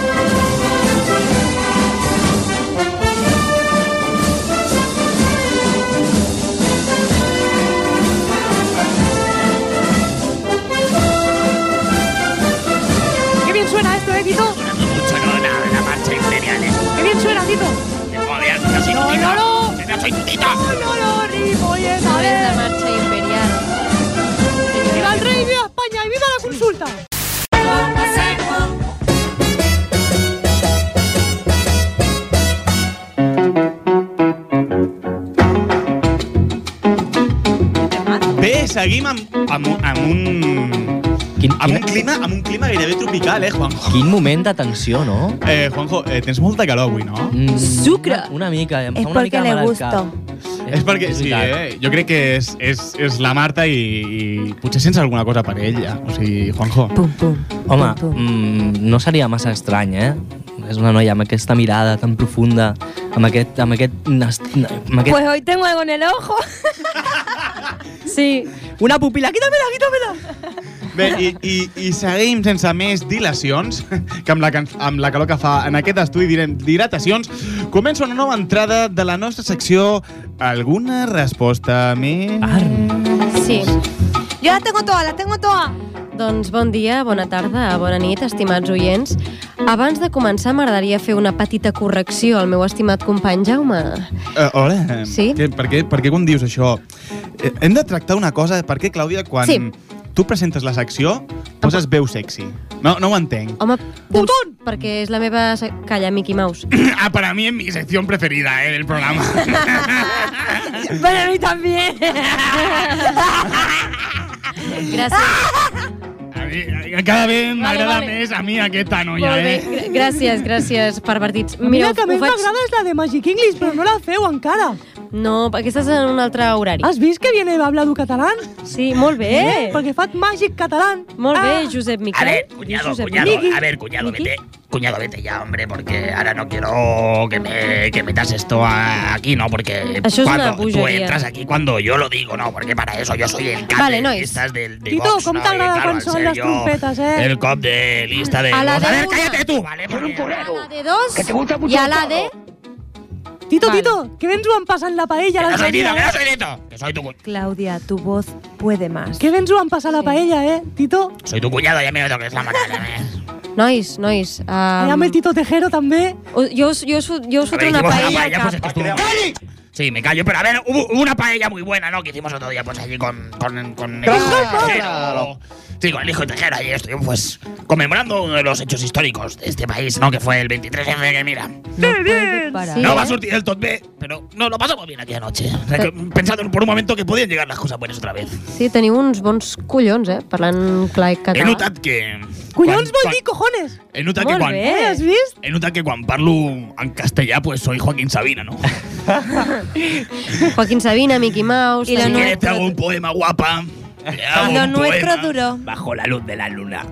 [SPEAKER 13] qué bien suena esto, ¿eh, Tito?
[SPEAKER 6] Mucho no, la, la marcha imperial, ¿eh?
[SPEAKER 13] Qué bien suena, Tito.
[SPEAKER 6] Que joder, que no soy tu tío.
[SPEAKER 13] No, no,
[SPEAKER 6] Que no soy tu tío.
[SPEAKER 13] No, no, Ripollet, a
[SPEAKER 3] És la
[SPEAKER 13] ver.
[SPEAKER 3] marxa imperial.
[SPEAKER 13] Viva el rei, viva España y viva la consulta.
[SPEAKER 1] Bé, seguim amb, amb, amb un...
[SPEAKER 2] Quin,
[SPEAKER 1] Amb un clima, amb un clima gairebé tropical, eh, Juanjo?
[SPEAKER 2] Quin moment de tensió, no?
[SPEAKER 1] Eh, Juanjo, eh, tens molta calor avui, no?
[SPEAKER 2] Mm,
[SPEAKER 16] Sucre.
[SPEAKER 2] Una, una mica, em
[SPEAKER 16] Es
[SPEAKER 2] fa una
[SPEAKER 16] porque
[SPEAKER 2] mica de
[SPEAKER 16] le
[SPEAKER 2] malestar.
[SPEAKER 16] gusto.
[SPEAKER 1] És perquè, sí, eh? jo crec que és, és, és la Marta i, i potser sents alguna cosa per ella. O sigui, Juanjo.
[SPEAKER 2] Pum, pum. Home, mm, no seria massa estrany, eh? És una noia amb aquesta mirada tan profunda, amb aquest... Amb aquest, nas- amb
[SPEAKER 11] Pues
[SPEAKER 2] aquest
[SPEAKER 11] hoy tengo algo en el ojo.
[SPEAKER 3] sí.
[SPEAKER 2] Una pupila, quítamela, quítamela.
[SPEAKER 1] Bé, i, i, i seguim sense més dilacions, *laughs* que amb la, can- amb la calor que fa en aquest estudi direm dilatacions, comença una nova entrada de la nostra secció Alguna resposta més...
[SPEAKER 3] Sí.
[SPEAKER 11] Yo la tengo toda, la tengo toda.
[SPEAKER 3] Doncs bon dia, bona tarda, bona nit, estimats oients. Abans de començar, m'agradaria fer una petita correcció al meu estimat company Jaume.
[SPEAKER 1] Uh, hola.
[SPEAKER 3] Sí?
[SPEAKER 1] Què, per, què, per què quan dius això? Eh, Hem de tractar una cosa. Per què, Clàudia, quan
[SPEAKER 3] Sí.
[SPEAKER 1] tu presentes la secció, poses veu sexy? No, no ho entenc.
[SPEAKER 3] Home, doncs, perquè és la meva... se- Calla, Mickey
[SPEAKER 11] *coughs*
[SPEAKER 3] Mouse.
[SPEAKER 6] Ah, para mí es mi sección preferida eh, del programa.
[SPEAKER 11] Para mí también.
[SPEAKER 3] Gràcies.
[SPEAKER 6] Cada vez me
[SPEAKER 3] Vale,
[SPEAKER 6] agrada
[SPEAKER 3] vale.
[SPEAKER 6] más a mí
[SPEAKER 3] *coughs*
[SPEAKER 6] aquesta
[SPEAKER 3] Molt
[SPEAKER 6] noia,
[SPEAKER 3] bé,
[SPEAKER 6] eh?
[SPEAKER 3] gr- gràcies, gràcies, pervertits.
[SPEAKER 13] A mi la que
[SPEAKER 3] ho
[SPEAKER 13] més
[SPEAKER 3] faig-
[SPEAKER 13] m'agrada és la de Magic English, però no la feu encara.
[SPEAKER 3] No, perquè estàs en un altre horari.
[SPEAKER 13] Has vist que viene hablado catalán?
[SPEAKER 3] Sí, molt bé.
[SPEAKER 13] perquè fa màgic català.
[SPEAKER 3] Molt bé,
[SPEAKER 13] Ah.
[SPEAKER 3] Josep Miquel.
[SPEAKER 13] A ver,
[SPEAKER 3] cuñado,
[SPEAKER 6] Cuñado, a ver, cuñado, vete. Cuñado, vete ya, hombre, porque ahora no quiero que me que metas esto a- aquí, ¿no? Porque
[SPEAKER 3] Eso es
[SPEAKER 6] cuando
[SPEAKER 3] una
[SPEAKER 6] tú
[SPEAKER 3] bullería.
[SPEAKER 6] entras aquí cuando yo lo digo, ¿no? Porque para eso yo soy el cap
[SPEAKER 3] Vale,
[SPEAKER 6] de
[SPEAKER 3] nois.
[SPEAKER 6] listas del de
[SPEAKER 13] Tito,
[SPEAKER 6] Vox,
[SPEAKER 13] com
[SPEAKER 6] ¿no?
[SPEAKER 13] t'agrada
[SPEAKER 6] Y claro,
[SPEAKER 13] quan
[SPEAKER 6] al
[SPEAKER 13] sonen
[SPEAKER 6] ser
[SPEAKER 13] les
[SPEAKER 6] yo
[SPEAKER 13] trompetes, eh?
[SPEAKER 6] El cop de lista de
[SPEAKER 13] A la
[SPEAKER 6] Vox.
[SPEAKER 13] de
[SPEAKER 6] a ver,
[SPEAKER 13] una.
[SPEAKER 6] cállate tú, ¿vale? Por un culero. Que te gusta mucho
[SPEAKER 11] Y a
[SPEAKER 6] el
[SPEAKER 11] la
[SPEAKER 6] todo.
[SPEAKER 11] de...
[SPEAKER 13] Tito, Tito, que vens ho han passat la paella
[SPEAKER 6] Que no soy
[SPEAKER 13] l'altre
[SPEAKER 6] Tito,
[SPEAKER 13] dia.
[SPEAKER 6] que no
[SPEAKER 13] eh?
[SPEAKER 6] soy Tito. Que soy tu, cu-
[SPEAKER 11] Claudia, tu voz puede más.
[SPEAKER 13] Que vens ho han passat la paella, eh, Tito?
[SPEAKER 6] soy tu cuñado, ya me lo que es la manera. ¿eh?
[SPEAKER 3] Nois, nois... Um...
[SPEAKER 13] Allà amb el Tito Tejero, també.
[SPEAKER 3] Jo us, jo us, jo us
[SPEAKER 6] A ver,
[SPEAKER 3] fotré una
[SPEAKER 6] hicimos
[SPEAKER 3] paella al cap.
[SPEAKER 6] pues es que estuvo- Sí, me callo, pero a ver, hubo hubo una paella muy buena, ¿no? Que hicimos otro día, pues allí con. con, con el hijo de Tejero. Sí, con el hijo de Tejero, allí estuvimos, pues, conmemorando uno de los hechos históricos de este país, ¿no? Que fue el 23F, que mira.
[SPEAKER 11] Sí,
[SPEAKER 6] no va
[SPEAKER 11] eh?
[SPEAKER 6] a surtir el top B, pero no lo pasamos bien aquí anoche. Rec- Pensando por un momento que podían llegar las cosas buenas otra vez.
[SPEAKER 3] Sí, teniu uns bons collons, eh? Parlant clar i
[SPEAKER 6] He
[SPEAKER 3] català.
[SPEAKER 6] notat que.
[SPEAKER 13] Collons
[SPEAKER 6] quan-
[SPEAKER 13] vol dir cojones.
[SPEAKER 6] quan- He notat que
[SPEAKER 13] Molt
[SPEAKER 6] quan.
[SPEAKER 13] bé. Eh, has vist?
[SPEAKER 6] He notat que quan parlo en castellà, pues soy Joaquín Sabina, ¿no?
[SPEAKER 3] Joaquín Sabina, Mickey Mouse... doncs,
[SPEAKER 6] Si
[SPEAKER 3] Daniel-
[SPEAKER 6] quieres te hago un poema guapa. Te hago
[SPEAKER 3] Lo
[SPEAKER 6] un
[SPEAKER 3] nuestro
[SPEAKER 6] poema
[SPEAKER 3] duró.
[SPEAKER 6] Bajo la luz de la luna.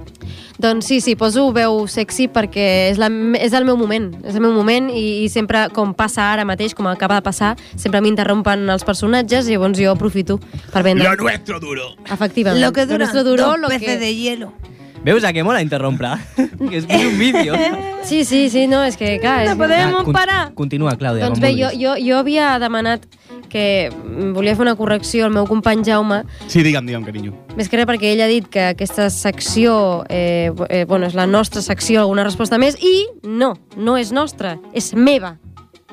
[SPEAKER 3] Doncs sí, sí, poso veu sexy perquè és, la, me- és el meu moment, és el meu moment i, i sempre, com passa ara mateix, com acaba de passar, sempre m'interrompen els personatges i llavors jo aprofito per vendre.
[SPEAKER 6] Lo nuestro duro.
[SPEAKER 3] Efectivament.
[SPEAKER 11] Lo que dura
[SPEAKER 3] nuestro duró,
[SPEAKER 11] dos
[SPEAKER 3] lo
[SPEAKER 11] peces
[SPEAKER 3] que... *laughs*
[SPEAKER 11] de hielo.
[SPEAKER 2] Veus a què mola interrompre? *laughs* que és, que és un
[SPEAKER 3] *laughs*
[SPEAKER 2] vídeo.
[SPEAKER 3] Eh? Sí, sí, sí, no, és que, clar...
[SPEAKER 11] No
[SPEAKER 3] és-
[SPEAKER 11] podem
[SPEAKER 2] Va, con-
[SPEAKER 11] parar.
[SPEAKER 2] Continua, Clàudia,
[SPEAKER 3] Doncs
[SPEAKER 2] com
[SPEAKER 3] bé, jo,
[SPEAKER 2] vulguis.
[SPEAKER 3] jo, jo havia demanat que mm, volia fer una correcció al meu company Jaume,
[SPEAKER 1] Sí, digue'm, digue'm, carinyo.
[SPEAKER 3] més que res perquè ell ha dit que aquesta secció, eh, bo- eh, bueno, és la nostra secció, alguna resposta més, i no, no és nostra, és meva,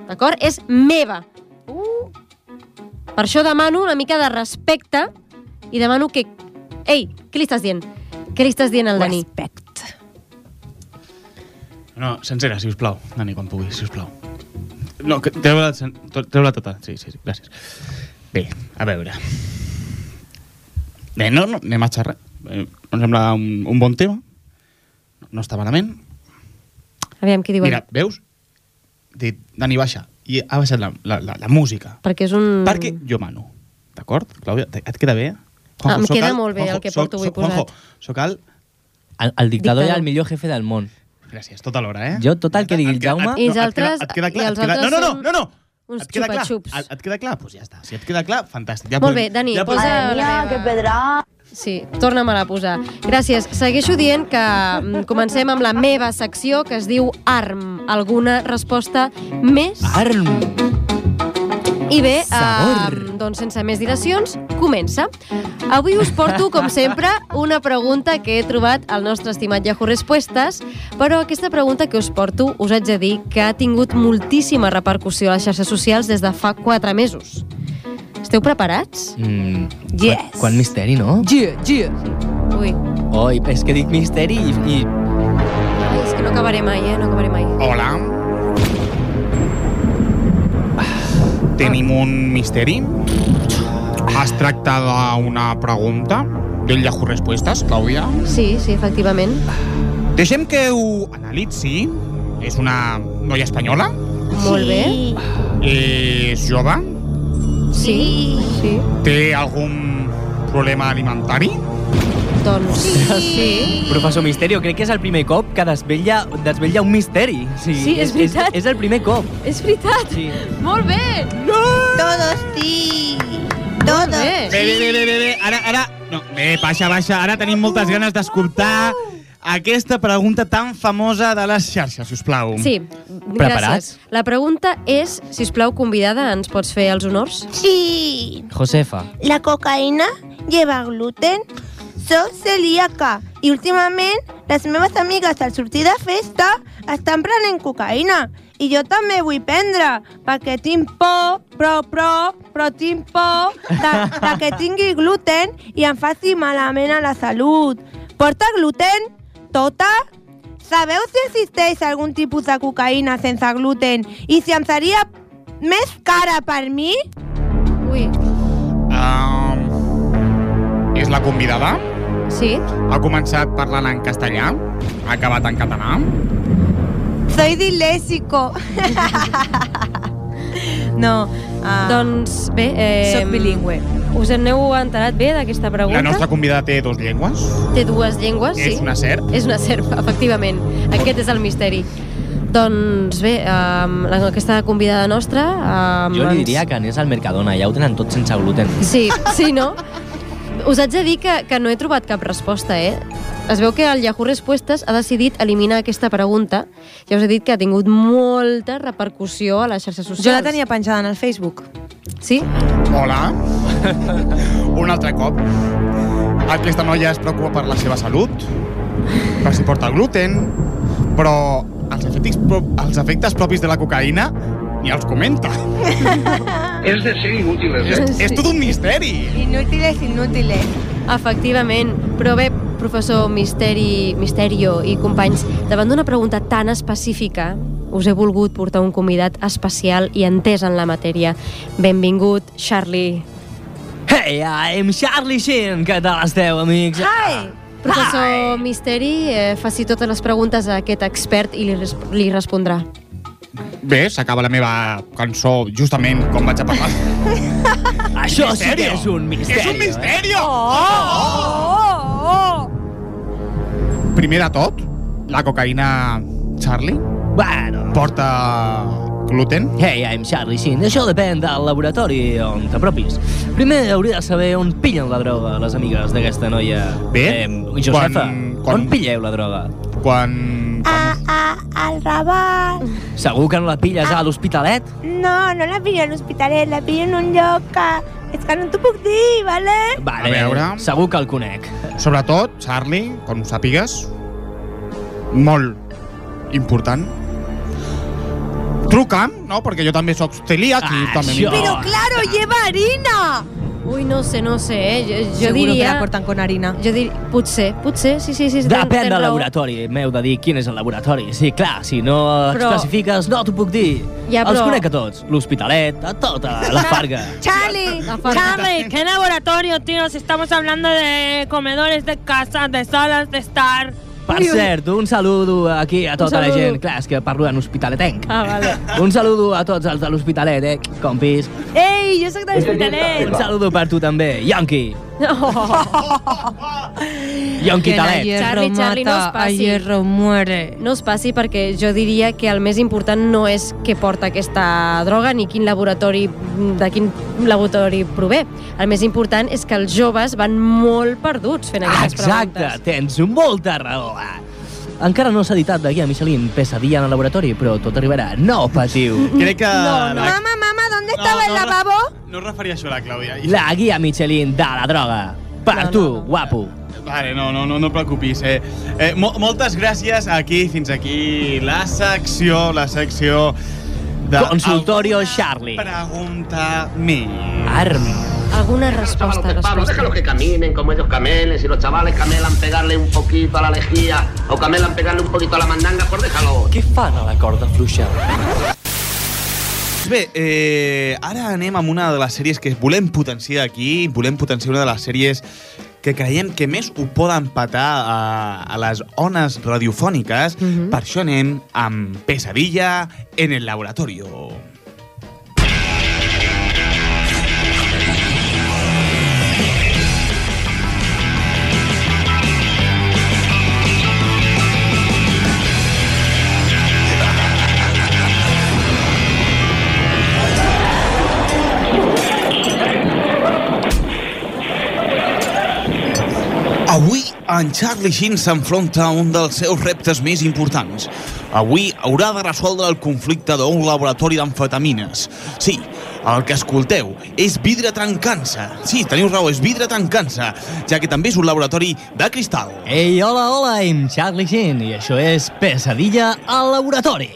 [SPEAKER 3] d'acord? És meva. Per això demano una mica de respecte i demano que... Ei, què li estàs dient? Què li estàs dient al Dani?
[SPEAKER 1] No, sencera, si us plau. Dani, quan puguis, si us plau. No, que- treu-la sen- to- treu-la tota. Sí, sí, sí, gràcies. Bé, a veure. Bé, no, no, anem a xerrar. Eh, Em sembla un, un bon tema. No està malament.
[SPEAKER 3] Aviam, què diuen?
[SPEAKER 1] Mira, veus? Dit, Dani, baixa. I ha baixat la, la, la, la música.
[SPEAKER 3] Perquè és un...
[SPEAKER 1] Perquè jo mano. D'acord, Clàudia? Te- Et queda bé?
[SPEAKER 3] Ah, em
[SPEAKER 1] sóc
[SPEAKER 3] queda
[SPEAKER 1] alt.
[SPEAKER 3] molt bé el
[SPEAKER 1] Juanjo,
[SPEAKER 3] que
[SPEAKER 1] sóc-
[SPEAKER 3] porto avui
[SPEAKER 1] sóc- Juanjo,
[SPEAKER 3] posat.
[SPEAKER 1] Sóc alt.
[SPEAKER 2] El, el dictador,
[SPEAKER 3] Dictador.
[SPEAKER 2] era el millor jefe del món.
[SPEAKER 1] Gràcies, tota l'hora, eh?
[SPEAKER 2] Jo, total, que digui el Jaume...
[SPEAKER 3] I els altres...
[SPEAKER 1] et queda clar,
[SPEAKER 3] i
[SPEAKER 1] et
[SPEAKER 3] els
[SPEAKER 1] queda-
[SPEAKER 3] altres
[SPEAKER 1] no, no, no,
[SPEAKER 3] són
[SPEAKER 1] no, no.
[SPEAKER 3] Uns
[SPEAKER 1] Et queda clar?
[SPEAKER 3] xupa-xups.
[SPEAKER 1] Et, et queda clar? Doncs pues ja està. Si et queda clar, fantàstic. Ja
[SPEAKER 3] Molt
[SPEAKER 1] podem-
[SPEAKER 3] bé, Dani,
[SPEAKER 1] ja podem-
[SPEAKER 3] posa la meva. que pedrà. Sí, torna-me-la a posar. Gràcies. Segueixo dient que mm, comencem amb la meva secció, que es diu ARM. Alguna resposta més?
[SPEAKER 2] ARM.
[SPEAKER 3] I bé,
[SPEAKER 2] Sabor.
[SPEAKER 3] eh, doncs sense més dilacions, comença. Avui us porto, com sempre, una pregunta que he trobat al nostre estimat Yahoo Respostes, però aquesta pregunta que us porto us haig de dir que ha tingut moltíssima repercussió a les xarxes socials des de fa quatre mesos. Esteu preparats?
[SPEAKER 2] Mm,
[SPEAKER 3] Yes.
[SPEAKER 2] quan, quan misteri, no?
[SPEAKER 3] Yeah, yeah. Ui,
[SPEAKER 2] Oi, és que dic misteri i... i...
[SPEAKER 3] ai, és que no acabaré mai, eh? No acabaré mai.
[SPEAKER 1] Hola. Tenim un misteri. Has tractat una pregunta del Yahoo Respostes, Clàudia?
[SPEAKER 3] Sí, sí, efectivament.
[SPEAKER 1] Deixem que ho analitzi. És una noia espanyola,
[SPEAKER 3] Molt bé.
[SPEAKER 1] és jove,
[SPEAKER 3] Sí. sí.
[SPEAKER 11] ¿Té algun problema alimentari?
[SPEAKER 3] Doncs sí.
[SPEAKER 2] Professor Misterio, crec que és el primer cop que desvetlla, desvetlla un misteri. O sigui,
[SPEAKER 3] Sí, és veritat.
[SPEAKER 2] És, és el primer cop.
[SPEAKER 3] És veritat.
[SPEAKER 2] Sí.
[SPEAKER 3] Molt bé. No.
[SPEAKER 16] Todos sí. Todos
[SPEAKER 3] Eh,
[SPEAKER 5] Bé, bé, bé, bé, bé, bé. Ara, ara... No, bé, baixa, baixa. Ara tenim moltes ganes d'escoltar
[SPEAKER 3] Uhuh.
[SPEAKER 5] aquesta pregunta tan famosa de les xarxes, si us plau.
[SPEAKER 3] Sí, gràcies. La pregunta és, si us plau, convidada, ens pots fer els honors?
[SPEAKER 16] Sí.
[SPEAKER 2] Josefa.
[SPEAKER 16] La cocaïna lleva gluten, soc celíaca i últimament les meves amigues al sortir de festa estan prenent cocaïna i jo també vull prendre perquè tinc por, però, però, però tinc por de, de que tingui gluten i em faci malament a la salut. Porta gluten? Tota? Sabeu si existeix algun tipus de cocaïna sense gluten i si em seria més cara per mi?
[SPEAKER 3] Ui,
[SPEAKER 11] Um, és la convidada?
[SPEAKER 3] sí.
[SPEAKER 11] Ha començat parlant en castellà? Ha acabat en català?
[SPEAKER 16] Soy dilésico. *laughs*
[SPEAKER 3] No. Ah. Doncs bé... Eh,
[SPEAKER 16] Soc bilingüe.
[SPEAKER 3] Us aneu enterat bé d'aquesta pregunta?
[SPEAKER 11] La nostra convidada té dos llengües?
[SPEAKER 3] Té dues llengües, sí.
[SPEAKER 11] És una serp?
[SPEAKER 3] És una serp, efectivament. Aquest és el misteri. Doncs bé, um, aquesta convidada nostra... Um,
[SPEAKER 2] Jo li diria que anés al Mercadona, ja ho tenen tot sense gluten.
[SPEAKER 3] Sí, sí, no? Us haig de dir que, que no he trobat cap resposta, eh? Es veu que el Yahoo Respostes ha decidit eliminar aquesta pregunta. Ja us he dit que ha tingut molta repercussió a les xarxes socials.
[SPEAKER 16] Jo la tenia penjada en el Facebook.
[SPEAKER 3] Sí?
[SPEAKER 11] Hola. Un altre cop. Aquesta noia es preocupa per la seva salut, per si porta gluten, però els efectes, pro- els efectes propis de la cocaïna ni els comenta.
[SPEAKER 7] Es de ser inútiles,
[SPEAKER 11] És,
[SPEAKER 7] ¿eh?
[SPEAKER 11] és tot un misteri.
[SPEAKER 16] Inútiles, inútiles.
[SPEAKER 3] Efectivament. Però bé, professor Misteri, Misterio i companys, davant d'una pregunta tan específica, us he volgut portar un convidat especial i entès en la matèria. Benvingut, Charlie.
[SPEAKER 2] Hey, I'm Charlie Sheen. Què tal esteu, amics? Ah,
[SPEAKER 16] Hi!
[SPEAKER 3] Professor Misteri, eh, faci totes les preguntes a aquest expert i li, res li respondrà.
[SPEAKER 11] Bé, s'acaba la meva cançó justament com vaig a parlar.
[SPEAKER 2] Això sí que
[SPEAKER 11] Misterio.
[SPEAKER 2] és un eh? misteri.
[SPEAKER 11] És un misteri!
[SPEAKER 16] Oh!
[SPEAKER 11] Primer de tot, la cocaïna Charlie
[SPEAKER 2] Bueno.
[SPEAKER 11] porta gluten.
[SPEAKER 2] Hey, I'm Charlie Sheen. Això depèn del laboratori on t'apropis. Primer hauria de saber on pillen la droga les amigues d'aquesta noia. Eh,
[SPEAKER 11] Bé,
[SPEAKER 2] Josefa,
[SPEAKER 11] quan- quan-
[SPEAKER 2] quan... on pilleu la droga?
[SPEAKER 11] Quan...
[SPEAKER 16] A, a, al Raval.
[SPEAKER 2] Segur que no la pilles a l'Hospitalet?
[SPEAKER 16] No, no la pillo en l'hospitalet, la pillo en un lloc que... És que no t'ho puc dir, vale?
[SPEAKER 2] Vale,
[SPEAKER 11] A veure.
[SPEAKER 2] Segur que el conec.
[SPEAKER 11] Sobretot, Charlie, com ho sàpigues, molt important, truca'm, no? Perquè jo també sóc celíac i també...
[SPEAKER 2] Ah, això.
[SPEAKER 11] m'interessa.
[SPEAKER 16] Claro, lleva harina.
[SPEAKER 3] Ui, no sé, no sé, eh? Jo, jo
[SPEAKER 16] Seguro que la
[SPEAKER 3] diria...
[SPEAKER 16] cortan con harina.
[SPEAKER 3] Jo diria... Potser, potser, sí, sí, sí. ten-
[SPEAKER 2] Depèn del
[SPEAKER 3] tens raó.
[SPEAKER 2] laboratori, m'heu de dir quin és el laboratori. Sí, clar, si no
[SPEAKER 3] Però-
[SPEAKER 2] però... especifiques, no t'ho puc dir.
[SPEAKER 3] Ja,
[SPEAKER 2] Els
[SPEAKER 3] però-
[SPEAKER 2] conec a tots, l'Hospitalet, a tota la Farga.
[SPEAKER 16] Charlie,
[SPEAKER 3] La falta.
[SPEAKER 17] Charlie, ¿qué laboratorio, tío? Si estamos hablando de comedores de casa, de salas de estar.
[SPEAKER 2] Per
[SPEAKER 17] Ui, ui.
[SPEAKER 2] cert, un saludo aquí a tota la
[SPEAKER 17] saludo.
[SPEAKER 2] gent. Clar, és que parlo en hospitaletenc.
[SPEAKER 17] Ah, vale.
[SPEAKER 2] Un saludo a tots els de l'Hospitalet, eh, compis.
[SPEAKER 16] Ei, jo sóc de l'hospitalet.
[SPEAKER 2] Un saludo per tu també, Yonki. Yonki
[SPEAKER 17] Que la
[SPEAKER 2] Talet.
[SPEAKER 17] hierba.
[SPEAKER 3] Charlie, Charlie, no us
[SPEAKER 17] mata, a
[SPEAKER 3] passi.
[SPEAKER 17] hierro
[SPEAKER 3] muere. No us passi perquè jo diria que el més important no és què porta aquesta droga ni quin laboratori de quin laboratori prové. El més important és que els joves van molt perduts fent aquestes
[SPEAKER 2] Exacte,
[SPEAKER 3] preguntes.
[SPEAKER 2] tens molta raó. eh. Encara no s'ha editat d'aquí a Michelin, pesadilla en el laboratori, però tot arribarà. No patiu.
[SPEAKER 1] Crec que... La,
[SPEAKER 16] Mamá, mamá, ¿dónde
[SPEAKER 1] no,
[SPEAKER 16] estaba el
[SPEAKER 1] no.
[SPEAKER 16] lavabo?
[SPEAKER 1] no es
[SPEAKER 16] *laughs*
[SPEAKER 1] referia això a la Clàudia.
[SPEAKER 2] La guia Michelin de la droga. Per tu, guapo.
[SPEAKER 1] Vale, no, no, no, no preocupis. Eh, eh, mo moltes gràcies aquí, fins aquí, la secció, la secció de...
[SPEAKER 2] Consultorio Charlie.
[SPEAKER 1] Pregunta mi.
[SPEAKER 2] Armi.
[SPEAKER 3] Alguna
[SPEAKER 15] Déjalo,
[SPEAKER 3] resposta,
[SPEAKER 15] Pablo,
[SPEAKER 3] resposta.
[SPEAKER 15] déjalo que caminen como ellos camelen. Si los chavales camelan pegarle un poquito a la lejía o camelan pegarle un poquito a la mandanga, pues déjalo.
[SPEAKER 2] Què fan a la corda fluixa?
[SPEAKER 1] Bé, eh, ara anem amb una de les sèries que volem potenciar aquí, volem potenciar una de les sèries que creiem que més ho poden patar a, a les ones radiofòniques.
[SPEAKER 17] Mhm.
[SPEAKER 1] Per això anem amb Pesadilla en el laboratorio. en Charlie Sheen s'enfronta a un dels seus reptes més importants. Avui haurà de resoldre el conflicte d'un laboratori d'amfetamines. Sí, el que escolteu és vidre trencant-se. Sí, teniu raó, és vidre trencant-se, ja que també és un laboratori de cristal.
[SPEAKER 2] Ei, hola, hola, I'm Charlie Sheen i això és Pesadilla al laboratori.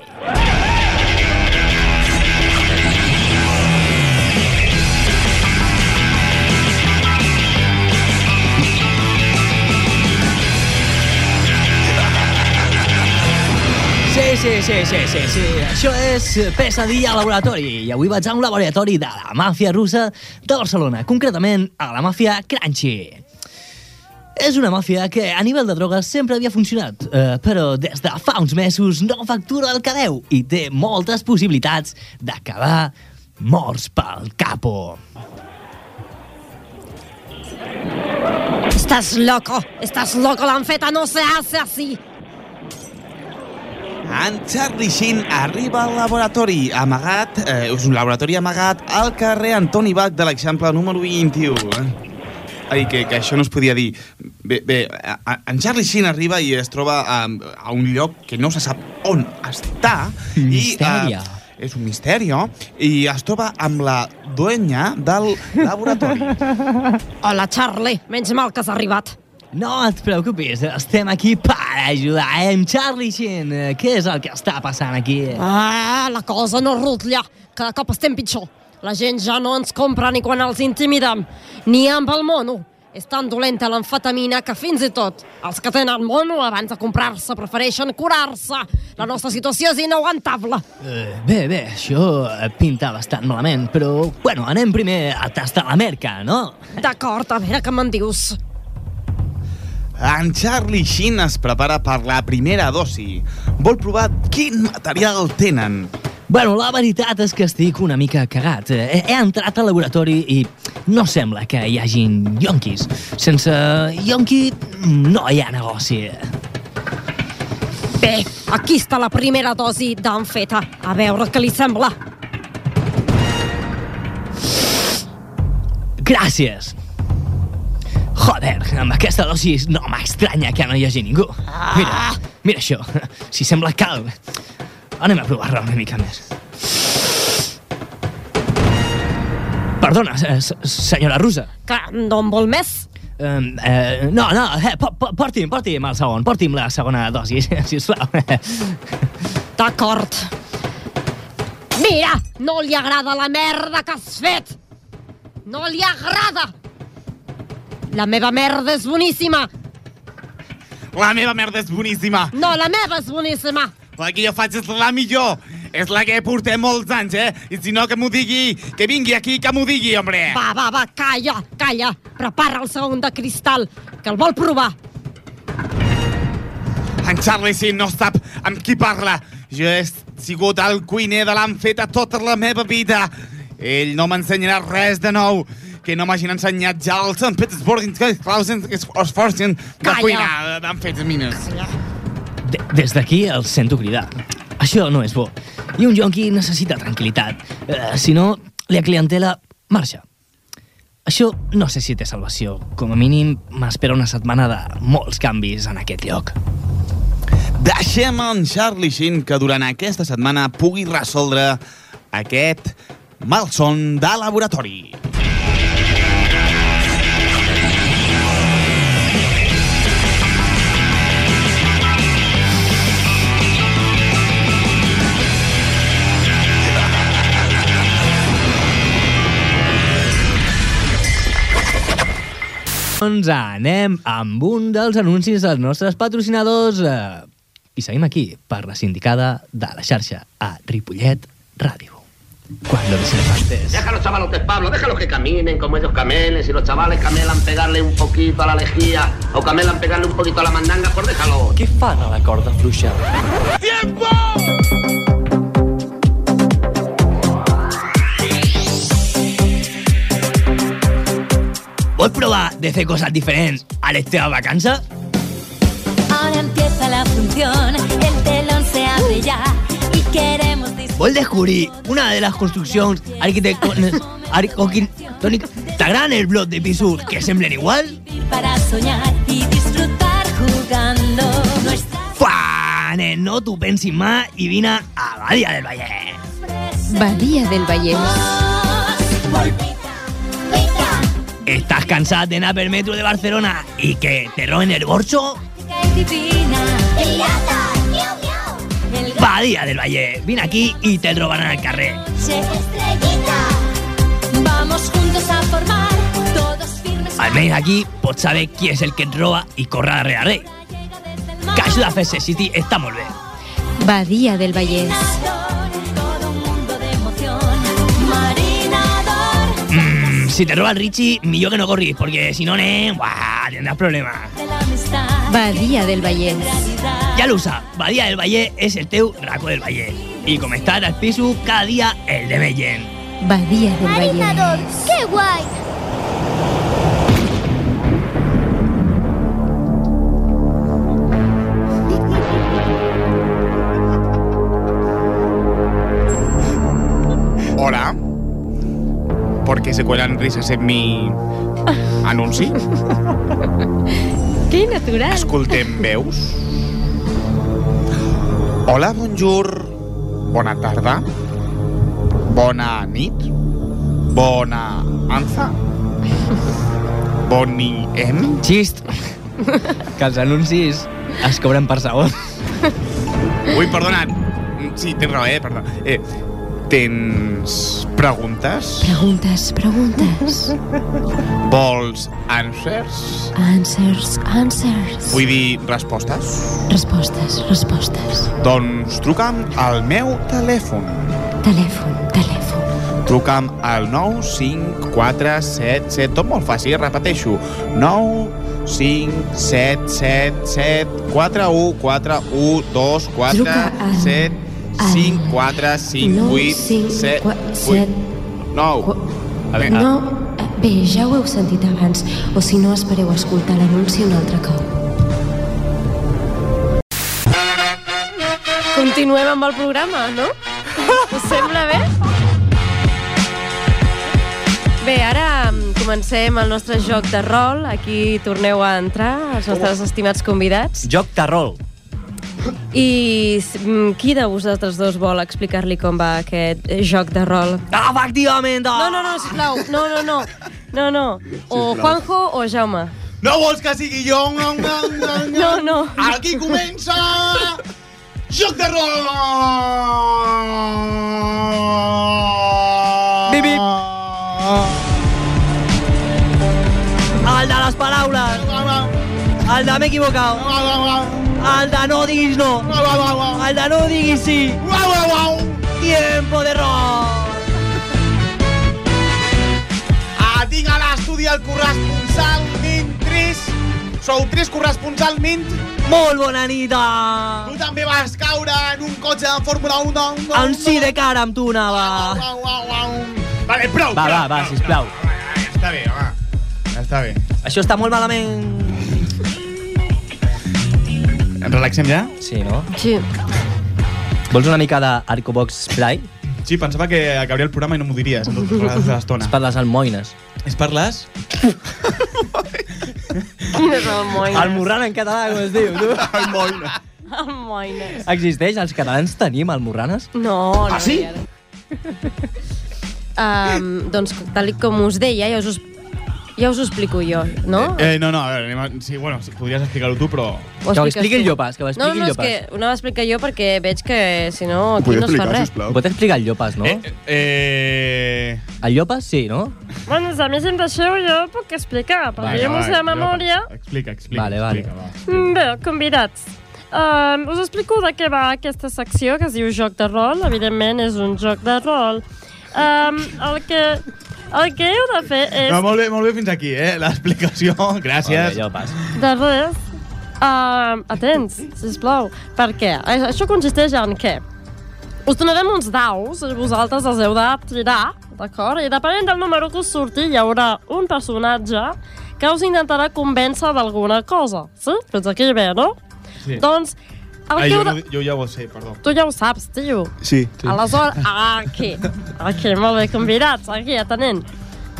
[SPEAKER 2] Sí, sí, sí, sí, sí, sí. Això és Pesadilla al laboratori. I avui vaig a un laboratori de la màfia russa de Barcelona, concretament a la màfia Crunchy. És una màfia que a nivell de drogues sempre havia funcionat, eh, però des de fa uns mesos no factura el que deu i té moltes possibilitats d'acabar morts pel capo.
[SPEAKER 18] Estás loco, estás loco, la anfeta no se hace así.
[SPEAKER 1] En Charlie Sheen arriba al laboratori amagat, eh, és un laboratori amagat al carrer Antoni Bach de l'Eixample número 21. eh? Ai, que, que això no es podia dir. Bé, bé a- a- en Charlie Sheen arriba i es troba a, a un lloc que no se sap on està.
[SPEAKER 2] Mistèria.
[SPEAKER 1] I, eh, és un misteri, i es troba amb la duenya del laboratori.
[SPEAKER 18] Hola, Charlie, menys mal que has arribat.
[SPEAKER 2] No et preocupis, estem aquí per ajudar, eh, amb Charlie Sheen. Eh, Què és el que està passant aquí?
[SPEAKER 18] Ah, la cosa no rutlla, cada cop estem pitjor. La gent ja no ens compra ni quan els intimidem, ni amb el mono. És tan dolenta l'amfetamina que fins i tot els que tenen mono abans de comprar-se prefereixen curar-se. La nostra situació és inaguantable.
[SPEAKER 2] Eh, Bé, bé, això eh, pinta bastant malament, però, bueno, anem primer a tastar la merca, no?
[SPEAKER 18] D'acord, a veure què me'n dius.
[SPEAKER 1] En Charlie Sheen es prepara per la primera dosi. Vol provar quin material tenen.
[SPEAKER 2] Bueno, la veritat és que estic una mica cagat. Eh, He, he entrat al laboratori i no sembla que hi hagin yonquis. Sense yonqui no hi ha negoci.
[SPEAKER 18] Bé, aquí està la primera dosi d'anfeta. A veure què li sembla.
[SPEAKER 2] Gràcies. Joder, amb aquesta dosi no m'estranya que no hi hagi ningú.
[SPEAKER 18] Ah.
[SPEAKER 2] Mira, mira això. *laughs* Si sembla cal. Anem a provar-la una mica més. Perdona, se- se- senyora russa.
[SPEAKER 18] Que no en vol més?
[SPEAKER 2] Um, eh, no, no, eh, po- po- porti'm, porti'm el segon, porti'm la segona dosi, *laughs* sisplau.
[SPEAKER 18] D'acord. Mira, no li agrada la merda que has fet! No li agrada! La meva merda és boníssima!
[SPEAKER 5] La meva merda és boníssima.
[SPEAKER 18] No, la meva és boníssima!
[SPEAKER 5] La que jo faig és la millor. És la que portem molts anys, eh? I si no, que m'ho digui. Que vingui aquí, que m'ho digui, hombre.
[SPEAKER 18] Va, va, va, calla, calla! Prepara el segon de cristal, que el vol provar!
[SPEAKER 5] En Charlie si no sap amb qui parla. Jo he sigut el cuiner de l'amfeta tota la meva vida. Ell no m'ensenyarà res de nou que no m'hagin ensenyat ja els Sant Petersburg Clausen Esforcen de
[SPEAKER 18] Calla.
[SPEAKER 5] cuinar d'amfetamines.
[SPEAKER 2] De- Des d'aquí el sento cridar. Això no és bo. I un yonqui necessita tranquil·litat. Eh, si no, la clientela marxa. Això no sé si té salvació. Com a mínim, m'espera una setmana de molts canvis en aquest lloc.
[SPEAKER 1] Deixem en Charlie Sheen que durant aquesta setmana pugui resoldre aquest malson de laboratori.
[SPEAKER 2] Doncs anem amb un dels anuncis dels nostres patrocinadors. eh, I seguim aquí, per la sindicada de la xarxa, a Ripollet Ràdio. Quan lo reservaste...
[SPEAKER 15] Déjalo, chavalotes, Pablo, déjalo que caminen como ellos camelen. Si los chavales camelan pegarle un poquito a la lejía o camelan pegarle un poquito a la mandanga, pues déjalo.
[SPEAKER 2] Què fan a la corda fluixa?
[SPEAKER 15] ¡Tiempo!
[SPEAKER 2] Vols provar de fer coses diferents a les teves vacances?
[SPEAKER 19] Ahora empieza la función, el telón se abre ya y queremos dis-
[SPEAKER 2] Vols descobrir una de les construccions
[SPEAKER 19] *laughs*
[SPEAKER 2] arquitectòniques tan gran el bloc de pisos que semblen igual?
[SPEAKER 19] para soñar y disfrutar.
[SPEAKER 13] buscando nuestra
[SPEAKER 2] Fuan, eh, no tu pensis más y vine a Badía del Valle.
[SPEAKER 14] Badía del Vallès.
[SPEAKER 2] ¿Estás cansada de nada per metro de Barcelona y que te roben el borcho?
[SPEAKER 13] divina.
[SPEAKER 2] Badía del Valle, vine aquí y te robarán al carrer.
[SPEAKER 13] Che estrellita, vamos juntos a formar todos firmes.
[SPEAKER 2] Almenys aquí pots saber qui és el que et roba i córrer darrere d'ell. Que això de fer-se City està molt bé.
[SPEAKER 14] Badía del Vallès.
[SPEAKER 2] Mm, si te roba el Richie, millor que no corris, perquè si no, nen, buah, tindràs problemes.
[SPEAKER 14] Badía del Vallès.
[SPEAKER 3] *laughs*
[SPEAKER 2] Ja lo sap, Badia del Valle és el teu racó del Valle. I com està al piso, cada dia el de més gent.
[SPEAKER 14] Badía del
[SPEAKER 13] Marinador, qué guay.
[SPEAKER 1] Hola. ¿Por qué se cuelan risas en mi anunci?
[SPEAKER 17] *laughs*
[SPEAKER 14] Que natural.
[SPEAKER 1] Escoltem veus. Hola, bonjour. Bona tarda. Bona nit. Bona anza. Boni em.
[SPEAKER 11] Xist! *laughs* que els anuncis es cobren per segon.
[SPEAKER 1] Ui, perdona. Sí, tens raó, eh? Perdó. Eh, tens preguntes?
[SPEAKER 14] Preguntes, preguntes.
[SPEAKER 1] Vols answers?
[SPEAKER 14] Answers, answers.
[SPEAKER 1] Vull dir respostes?
[SPEAKER 14] Respostes, respostes.
[SPEAKER 1] Doncs truca'm al meu telèfon.
[SPEAKER 14] Telèfon, telèfon.
[SPEAKER 1] Truca'm al 9 5 4 7 7, tot molt fàcil, repeteixo. 9 5 7 7 7 4 1 4 1 2 4
[SPEAKER 14] Truca al-
[SPEAKER 1] 7 5 4 5
[SPEAKER 14] Nou,
[SPEAKER 1] 8
[SPEAKER 14] cinc,
[SPEAKER 1] 7
[SPEAKER 14] qua-
[SPEAKER 1] 8
[SPEAKER 14] set,
[SPEAKER 1] 9 A veure,
[SPEAKER 14] No, eh, bé, ja ho heu sentit abans, o si no espereu escoltar l'anunci un altre cop.
[SPEAKER 3] Continuem amb el programa, no? Us sembla bé? Bé, ara mm, comencem el nostre joc de rol. Aquí torneu a entrar, els nostres estimats convidats.
[SPEAKER 11] Joc de rol.
[SPEAKER 3] I mm, qui de vosaltres dos vol explicar-li com va aquest eh, joc de rol?
[SPEAKER 2] Efectivament!
[SPEAKER 3] No, no, no, sisplau. No, no, no. No, no. O
[SPEAKER 20] Sisplau.
[SPEAKER 3] Juanjo o Jaume.
[SPEAKER 20] No vols que sigui jo? No, no, no, no.
[SPEAKER 3] No, no.
[SPEAKER 20] Aquí comença... Joc de rol!
[SPEAKER 2] Bip, bip. El de les paraules. El de m'he equivocat. El de no diguis no. El de no diguis sí. Tiempo de rock.
[SPEAKER 20] Ah, tinc a l'estudi el corresponsal Mint 3. Sou tres corresponsal Mint.
[SPEAKER 2] Molt bona nit.
[SPEAKER 3] ah.
[SPEAKER 20] Tu també vas caure en un cotxe de Fórmula 1. No, no,
[SPEAKER 2] En si de cara amb tu
[SPEAKER 3] Ah.
[SPEAKER 2] anava.
[SPEAKER 20] Uau, uau, uau. Vale, prou,
[SPEAKER 11] Va,
[SPEAKER 20] prou,
[SPEAKER 11] va, va,
[SPEAKER 20] prou,
[SPEAKER 11] sisplau.
[SPEAKER 20] prou. Està bé, home. Ja està bé.
[SPEAKER 11] Això està molt malament.
[SPEAKER 1] relaxem ja?
[SPEAKER 11] Sí, no?
[SPEAKER 3] Sí.
[SPEAKER 11] Vols una mica d'Arcobox Spray?
[SPEAKER 1] Sí, pensava que acabaria el programa i no m'ho diries en
[SPEAKER 11] *laughs*
[SPEAKER 1] tota l'estona.
[SPEAKER 11] És per les almoines.
[SPEAKER 1] És per les?
[SPEAKER 3] Quines
[SPEAKER 1] Ah.
[SPEAKER 3] almoines.
[SPEAKER 11] Almorran en català, com es diu, tu?
[SPEAKER 1] *laughs* Almoines.
[SPEAKER 3] Almoines.
[SPEAKER 11] Existeix? Els catalans tenim almorranes?
[SPEAKER 3] No, no.
[SPEAKER 11] Ah, sí?
[SPEAKER 3] *laughs* ja. Um, doncs, tal i com us deia, ja us, us- ja us ho explico jo, no?
[SPEAKER 1] Eh, no, no, a veure, anem a... Sí, bueno, sí, podries explicar-ho tu, però...
[SPEAKER 3] Ho expliques tu. no,
[SPEAKER 1] jo
[SPEAKER 3] no, és que no ho explico jo perquè veig que, si no,
[SPEAKER 1] Ho
[SPEAKER 3] aquí
[SPEAKER 1] podria
[SPEAKER 3] no es fa
[SPEAKER 1] explicar,
[SPEAKER 3] res.
[SPEAKER 1] sisplau.
[SPEAKER 11] Ho pot explicar el Llopas, no? Eh,
[SPEAKER 1] eh...
[SPEAKER 11] El Llopas, sí, no?
[SPEAKER 17] Bueno, si a mi si em deixeu jo puc explicar, perquè jo m'ho sé de memòria.
[SPEAKER 1] Explica, explica.
[SPEAKER 11] Vale, vale.
[SPEAKER 17] Mm, Bé, convidats. Um, us explico de què va aquesta secció que es diu Joc de Rol. Evidentment, és un joc de rol. Um, el, que, el que heu de fer és...
[SPEAKER 1] No, molt bé, molt bé fins aquí, eh? L'explicació, *laughs* gràcies.
[SPEAKER 11] Vale, jo pas.
[SPEAKER 17] De res. Uh, atents, sisplau. Per què? A- Això consisteix en què? Us donarem uns daus i vosaltres els heu de tirar, d'acord? I depenent del número que us surti hi haurà un personatge que us intentarà convèncer d'alguna cosa. Sí? Fins aquí bé, no?
[SPEAKER 1] Sí.
[SPEAKER 17] Doncs, el
[SPEAKER 1] Ah,
[SPEAKER 17] que
[SPEAKER 1] jo,
[SPEAKER 17] heu de...
[SPEAKER 1] no, jo ja ho sé, perdó.
[SPEAKER 17] Tu ja ho saps, tio.
[SPEAKER 1] Sí.
[SPEAKER 17] Aleshores, aquí, aquí, molt bé, convidats, aquí, atenent.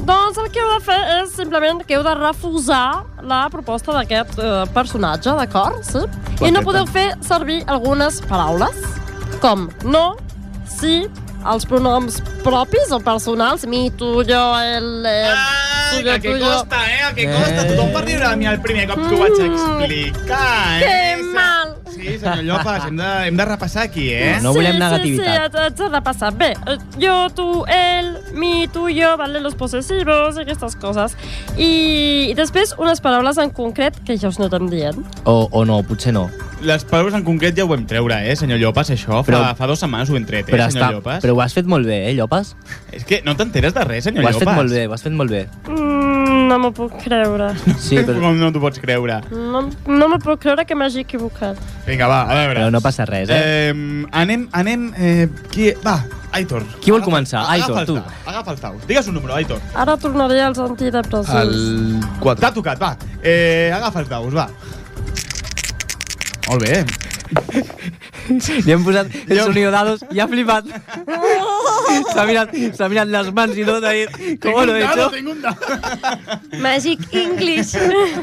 [SPEAKER 17] Doncs el que heu de fer és simplement que heu de refusar la proposta d'aquest eh, personatge, d'acord? Sí? I no
[SPEAKER 21] Perfecte.
[SPEAKER 17] podeu fer servir algunes paraules, com no, sí, els pronoms propis o personals, mi, tu, jo, el... Eh, tu, jo,
[SPEAKER 1] El que
[SPEAKER 17] tu, jo. Mm.
[SPEAKER 1] costa, eh? El que costa. Tothom va riure de mi el primer cop que ho vaig explicar, eh?
[SPEAKER 17] Que mal!
[SPEAKER 1] Sí, senyor Llopas, hem de, hem de repassar aquí, eh?
[SPEAKER 17] Sí, sí, sí, haig, haig de passar. Bé, eh, jo, tu, ell, mi, tu, jo, vale, los possessivos, aquestes coses. I, i després unes paraules en concret que ja us notem dient.
[SPEAKER 2] O, o no, potser no.
[SPEAKER 1] Les paraules en concret ja ho vam treure, eh, senyor Llopas, això. Però, fa,
[SPEAKER 2] Però-
[SPEAKER 1] fa dues setmanes ho hem tret, eh,
[SPEAKER 2] Però,
[SPEAKER 1] senyor
[SPEAKER 2] està,
[SPEAKER 1] Llopas.
[SPEAKER 2] però ho has fet molt bé, eh, Llopas?
[SPEAKER 1] És que no t'enteres de res, senyor
[SPEAKER 2] Ho has
[SPEAKER 1] Llopas.
[SPEAKER 2] fet molt bé, ho has fet molt bé.
[SPEAKER 17] Mm, no m'ho puc creure.
[SPEAKER 2] Sí, però...
[SPEAKER 1] *laughs* Com no t'ho pots creure?
[SPEAKER 17] No, no me puc creure que m'hagi equivocat.
[SPEAKER 1] Vinga, va, a veure. Però
[SPEAKER 2] no passa res,
[SPEAKER 1] eh? eh anem, anem... Eh, qui... Va, Aitor. Qui vol
[SPEAKER 2] començar? Aitor,
[SPEAKER 1] agafa
[SPEAKER 2] Ah, tu.
[SPEAKER 1] El tau, agafa el tau. Digues un número, Aitor.
[SPEAKER 17] Ara tornaré als antidepressius.
[SPEAKER 1] El 4. T'ha tocat, va. Eh, agafa els daus, va. Molt *laughs* bé.
[SPEAKER 2] Li hem posat el sonido dados i ha
[SPEAKER 1] *laughs*
[SPEAKER 2] flipat. S'ha mirat, s'ha mirat les mans i tot, ha dit, *laughs* com lo he hecho?
[SPEAKER 1] Tengo un dado.
[SPEAKER 3] Magic English.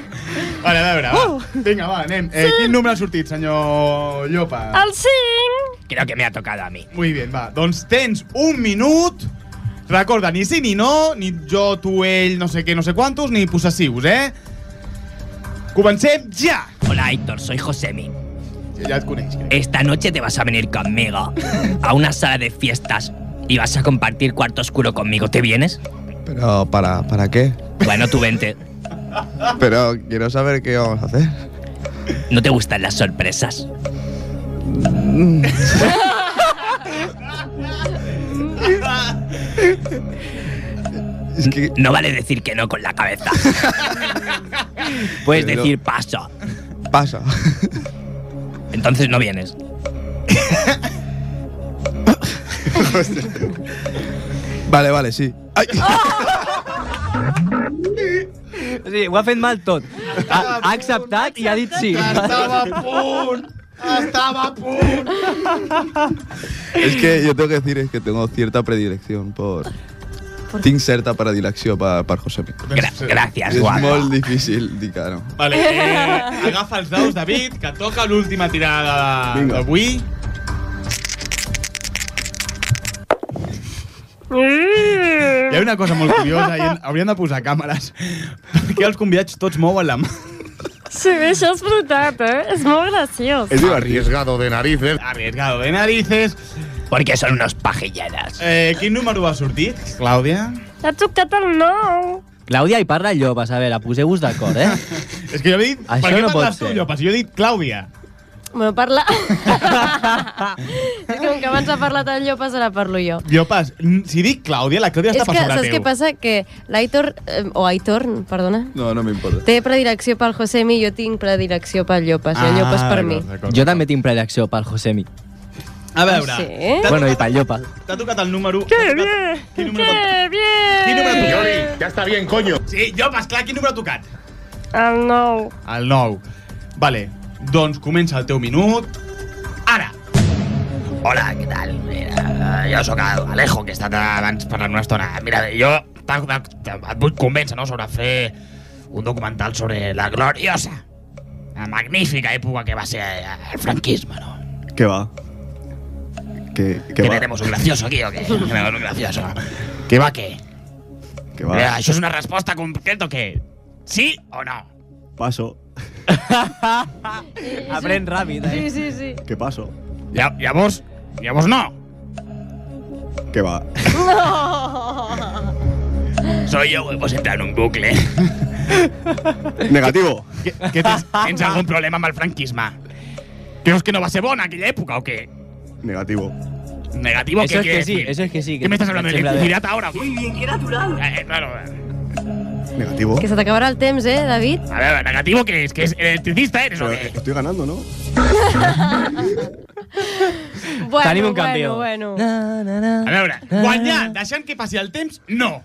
[SPEAKER 1] *laughs* Vale, a veure, va.
[SPEAKER 3] Oh,
[SPEAKER 17] Uh.
[SPEAKER 1] Vinga, va, anem. Eh, quin número ha sortit, senyor Llopa?
[SPEAKER 17] El 5!
[SPEAKER 1] Creo que me ha tocado a mi. Muy bien, va. Doncs tens un minut. Recorda, ni sí ni no, ni jo, tu, ell, no sé què, no sé quantos, ni possessius, eh? Comencem ja!
[SPEAKER 6] Hola, Héctor, soy Josemi.
[SPEAKER 1] Ya te conozco.
[SPEAKER 6] Esta noche te vas a venir conmigo a una sala de fiestas y vas a compartir cuarto oscuro conmigo. ¿Te vienes?
[SPEAKER 10] Pero, ¿para, ¿para qué?
[SPEAKER 6] Bueno, tú vente.
[SPEAKER 10] Pero quiero saber qué vamos a hacer.
[SPEAKER 6] ¿No te gustan las sorpresas? No vale decir que no con la
[SPEAKER 10] *laughs*
[SPEAKER 6] cabeza. Puedes
[SPEAKER 10] Pero-
[SPEAKER 6] decir paso.
[SPEAKER 2] *laughs*
[SPEAKER 10] Paso.
[SPEAKER 6] Entonces no vienes.
[SPEAKER 10] *laughs* vale, vale, sí.
[SPEAKER 9] Oh.
[SPEAKER 2] Sí, ho ha fet mal tot. Ha, ha acceptat i ha dit sí.
[SPEAKER 1] Estava a punt! Estava a punt!
[SPEAKER 10] Es que yo tengo que decir es que tengo cierta predilección por... Tinc certa predilecció per, per José Pi.
[SPEAKER 6] gràcies,
[SPEAKER 10] És
[SPEAKER 6] guapo.
[SPEAKER 10] molt difícil dir que no.
[SPEAKER 1] Vale, eh, agafa els daus, David, que toca l'última tirada de- d'avui. Mm.
[SPEAKER 17] Mm.
[SPEAKER 1] Hi ha una cosa molt curiosa, i hem- hauríem de posar càmeres, perquè els convidats tots mouen la mà.
[SPEAKER 17] Sí, això és brutal, eh? És molt graciós.
[SPEAKER 1] Arriesgado de narices. Arriesgado de narices.
[SPEAKER 6] Porque son unos pajilleras.
[SPEAKER 1] Eh, quin número va sortir, Clàudia?
[SPEAKER 17] Ha tocat el 9.
[SPEAKER 2] Clàudia, hi parla allò, vas a veure, poseu-vos d'acord, eh?
[SPEAKER 1] És que jo he dit...
[SPEAKER 2] Això
[SPEAKER 1] per què
[SPEAKER 2] no pot
[SPEAKER 1] parles tu,
[SPEAKER 2] ser.
[SPEAKER 1] Llopas? Jo he dit Clàudia.
[SPEAKER 17] Bueno, parla...
[SPEAKER 1] *laughs*
[SPEAKER 17] és que com que abans ha parlat el Llopas, ara parlo jo.
[SPEAKER 1] Llopas, mm, si dic Clàudia, la Clàudia
[SPEAKER 3] És
[SPEAKER 1] està
[SPEAKER 3] que
[SPEAKER 1] per sobre
[SPEAKER 3] saps
[SPEAKER 1] teu.
[SPEAKER 3] què passa? Que l'Aitor, eh, o Aitor, perdona,
[SPEAKER 10] No, no m'importa.
[SPEAKER 3] té predilecció pel Josemi i jo tinc predilecció pel Llopas. Ah,
[SPEAKER 2] Ah,
[SPEAKER 3] el Llopas per mi.
[SPEAKER 2] Jo també tinc predilecció pel Josemi.
[SPEAKER 1] A veure,
[SPEAKER 3] Ah, Sí?
[SPEAKER 1] t'ha
[SPEAKER 2] Bueno, i
[SPEAKER 1] tocat-
[SPEAKER 2] pel eh? Llopa.
[SPEAKER 1] T'ha tocat el número... Que
[SPEAKER 17] bien!
[SPEAKER 1] Que bien! Quin número ha tocat? Ja està bien, coño. Sí, Llopas, clar, quin número ha tocat?
[SPEAKER 17] El 9.
[SPEAKER 1] El 9. Vale, doncs comença el teu minut.
[SPEAKER 6] Hola, ¿qué tal? Mira, jo sóc el Alejo, que he estat abans parlant una estona. Mira, jo t'ha- t'ha- et vull convèncer no, sobre fer un documental sobre la gloriosa, la magnífica època que va ser eh, el franquisme, no?
[SPEAKER 10] Què va? Què,
[SPEAKER 6] Que
[SPEAKER 10] què va?
[SPEAKER 6] tenemos un gracioso aquí, o
[SPEAKER 10] *laughs*
[SPEAKER 6] què? Tenemos un gracioso. Què va, què?
[SPEAKER 10] Què va?
[SPEAKER 6] Mira, això és una resposta concreta o què? Sí o no?
[SPEAKER 10] Paso.
[SPEAKER 6] *laughs* Aprèn ràpid, eh?
[SPEAKER 17] Sí, sí, sí.
[SPEAKER 10] Què paso?
[SPEAKER 6] Lla- Llavors, llavors no.
[SPEAKER 10] Què va?
[SPEAKER 17] No!
[SPEAKER 6] Soy yo, hemos entrado en un bucle.
[SPEAKER 10] Negativo.
[SPEAKER 6] ¿Qué, qué tens, tens algun problema amb el franquisme? Creus que no va ser bona aquella època o què?
[SPEAKER 10] Negativo.
[SPEAKER 6] Negativo,
[SPEAKER 2] Eso
[SPEAKER 6] ¿qué
[SPEAKER 2] es que
[SPEAKER 6] quieres
[SPEAKER 2] sí,
[SPEAKER 6] decir?
[SPEAKER 2] eso es que sí.
[SPEAKER 6] ¿Qué me estás hablando de
[SPEAKER 2] Sembla
[SPEAKER 6] electricidad ahora?
[SPEAKER 3] Qué natural.
[SPEAKER 6] Eh, claro. eh.
[SPEAKER 10] Negativo.
[SPEAKER 3] Que se t'acabarà el temps, eh, David?
[SPEAKER 6] A ver, negativo que es que es electricista eres o qué?
[SPEAKER 10] Estoy ganando, ¿no?
[SPEAKER 17] Bueno,
[SPEAKER 6] Tenim un
[SPEAKER 17] bueno,
[SPEAKER 6] campió.
[SPEAKER 17] Bueno,
[SPEAKER 6] A veure,
[SPEAKER 1] Guanyar, deixant que passi el temps, no.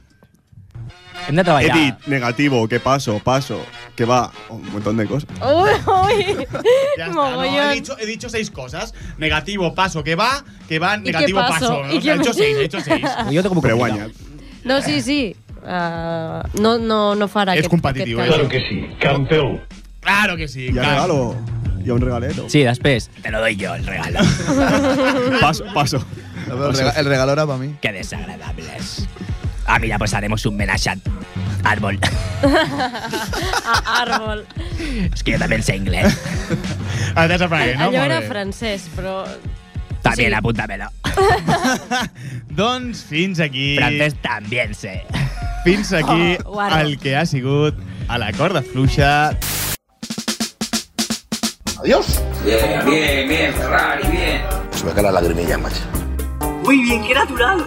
[SPEAKER 2] Hem de treballar.
[SPEAKER 10] Edit, negativo, ¿qué paso? Paso. ¿Qué va? Un montón de cosas.
[SPEAKER 17] Uy, uy.
[SPEAKER 1] *laughs* Ya está,
[SPEAKER 17] *laughs*
[SPEAKER 1] no,
[SPEAKER 17] Mogollón.
[SPEAKER 1] he, dicho, he dicho seis cosas. Negativo, paso, que va, que va,
[SPEAKER 17] qué
[SPEAKER 1] negativo,
[SPEAKER 17] paso?
[SPEAKER 1] paso.
[SPEAKER 17] ¿Y
[SPEAKER 1] O sea,
[SPEAKER 17] qué
[SPEAKER 1] he hecho
[SPEAKER 17] *laughs* más?
[SPEAKER 1] seis, he hecho seis.
[SPEAKER 10] Yo tengo Pero guanya.
[SPEAKER 3] No, sí, sí.
[SPEAKER 22] eh, no, no, no farà
[SPEAKER 1] És
[SPEAKER 22] aquest,
[SPEAKER 1] competitiu,
[SPEAKER 22] aquest cas.
[SPEAKER 1] eh? Claro que
[SPEAKER 15] sí, campeón.
[SPEAKER 1] Claro que sí.
[SPEAKER 15] Hi ha
[SPEAKER 1] claro.
[SPEAKER 15] regalo. Hi ha un regalero.
[SPEAKER 23] Sí, després.
[SPEAKER 2] Te lo doy yo el regalo.
[SPEAKER 1] eh?
[SPEAKER 15] Paso,
[SPEAKER 6] *laughs*
[SPEAKER 15] paso.
[SPEAKER 14] El, rega- el regalo era para mí.
[SPEAKER 2] Qué desagradables. Ah, mira, pues haremos un menage a árbol.
[SPEAKER 3] *laughs* A Árbol.
[SPEAKER 2] *laughs* Es que yo también sé inglés.
[SPEAKER 1] Estàs aprenent, no?
[SPEAKER 3] Allò
[SPEAKER 1] Molt
[SPEAKER 3] era
[SPEAKER 1] bé.
[SPEAKER 3] francès, però...
[SPEAKER 2] También
[SPEAKER 3] Sí.
[SPEAKER 2] apúntamelo.
[SPEAKER 1] Doncs fins aquí...
[SPEAKER 2] Francès también sé.
[SPEAKER 1] Fins aquí
[SPEAKER 2] Oh, guarro.
[SPEAKER 1] el que ha sigut a la corda fluixa.
[SPEAKER 15] Adiós.
[SPEAKER 6] Bien, bien, bien, Ferrari, bien.
[SPEAKER 15] Se me cae la lagrimilla, macho.
[SPEAKER 6] Muy bien, qué natural.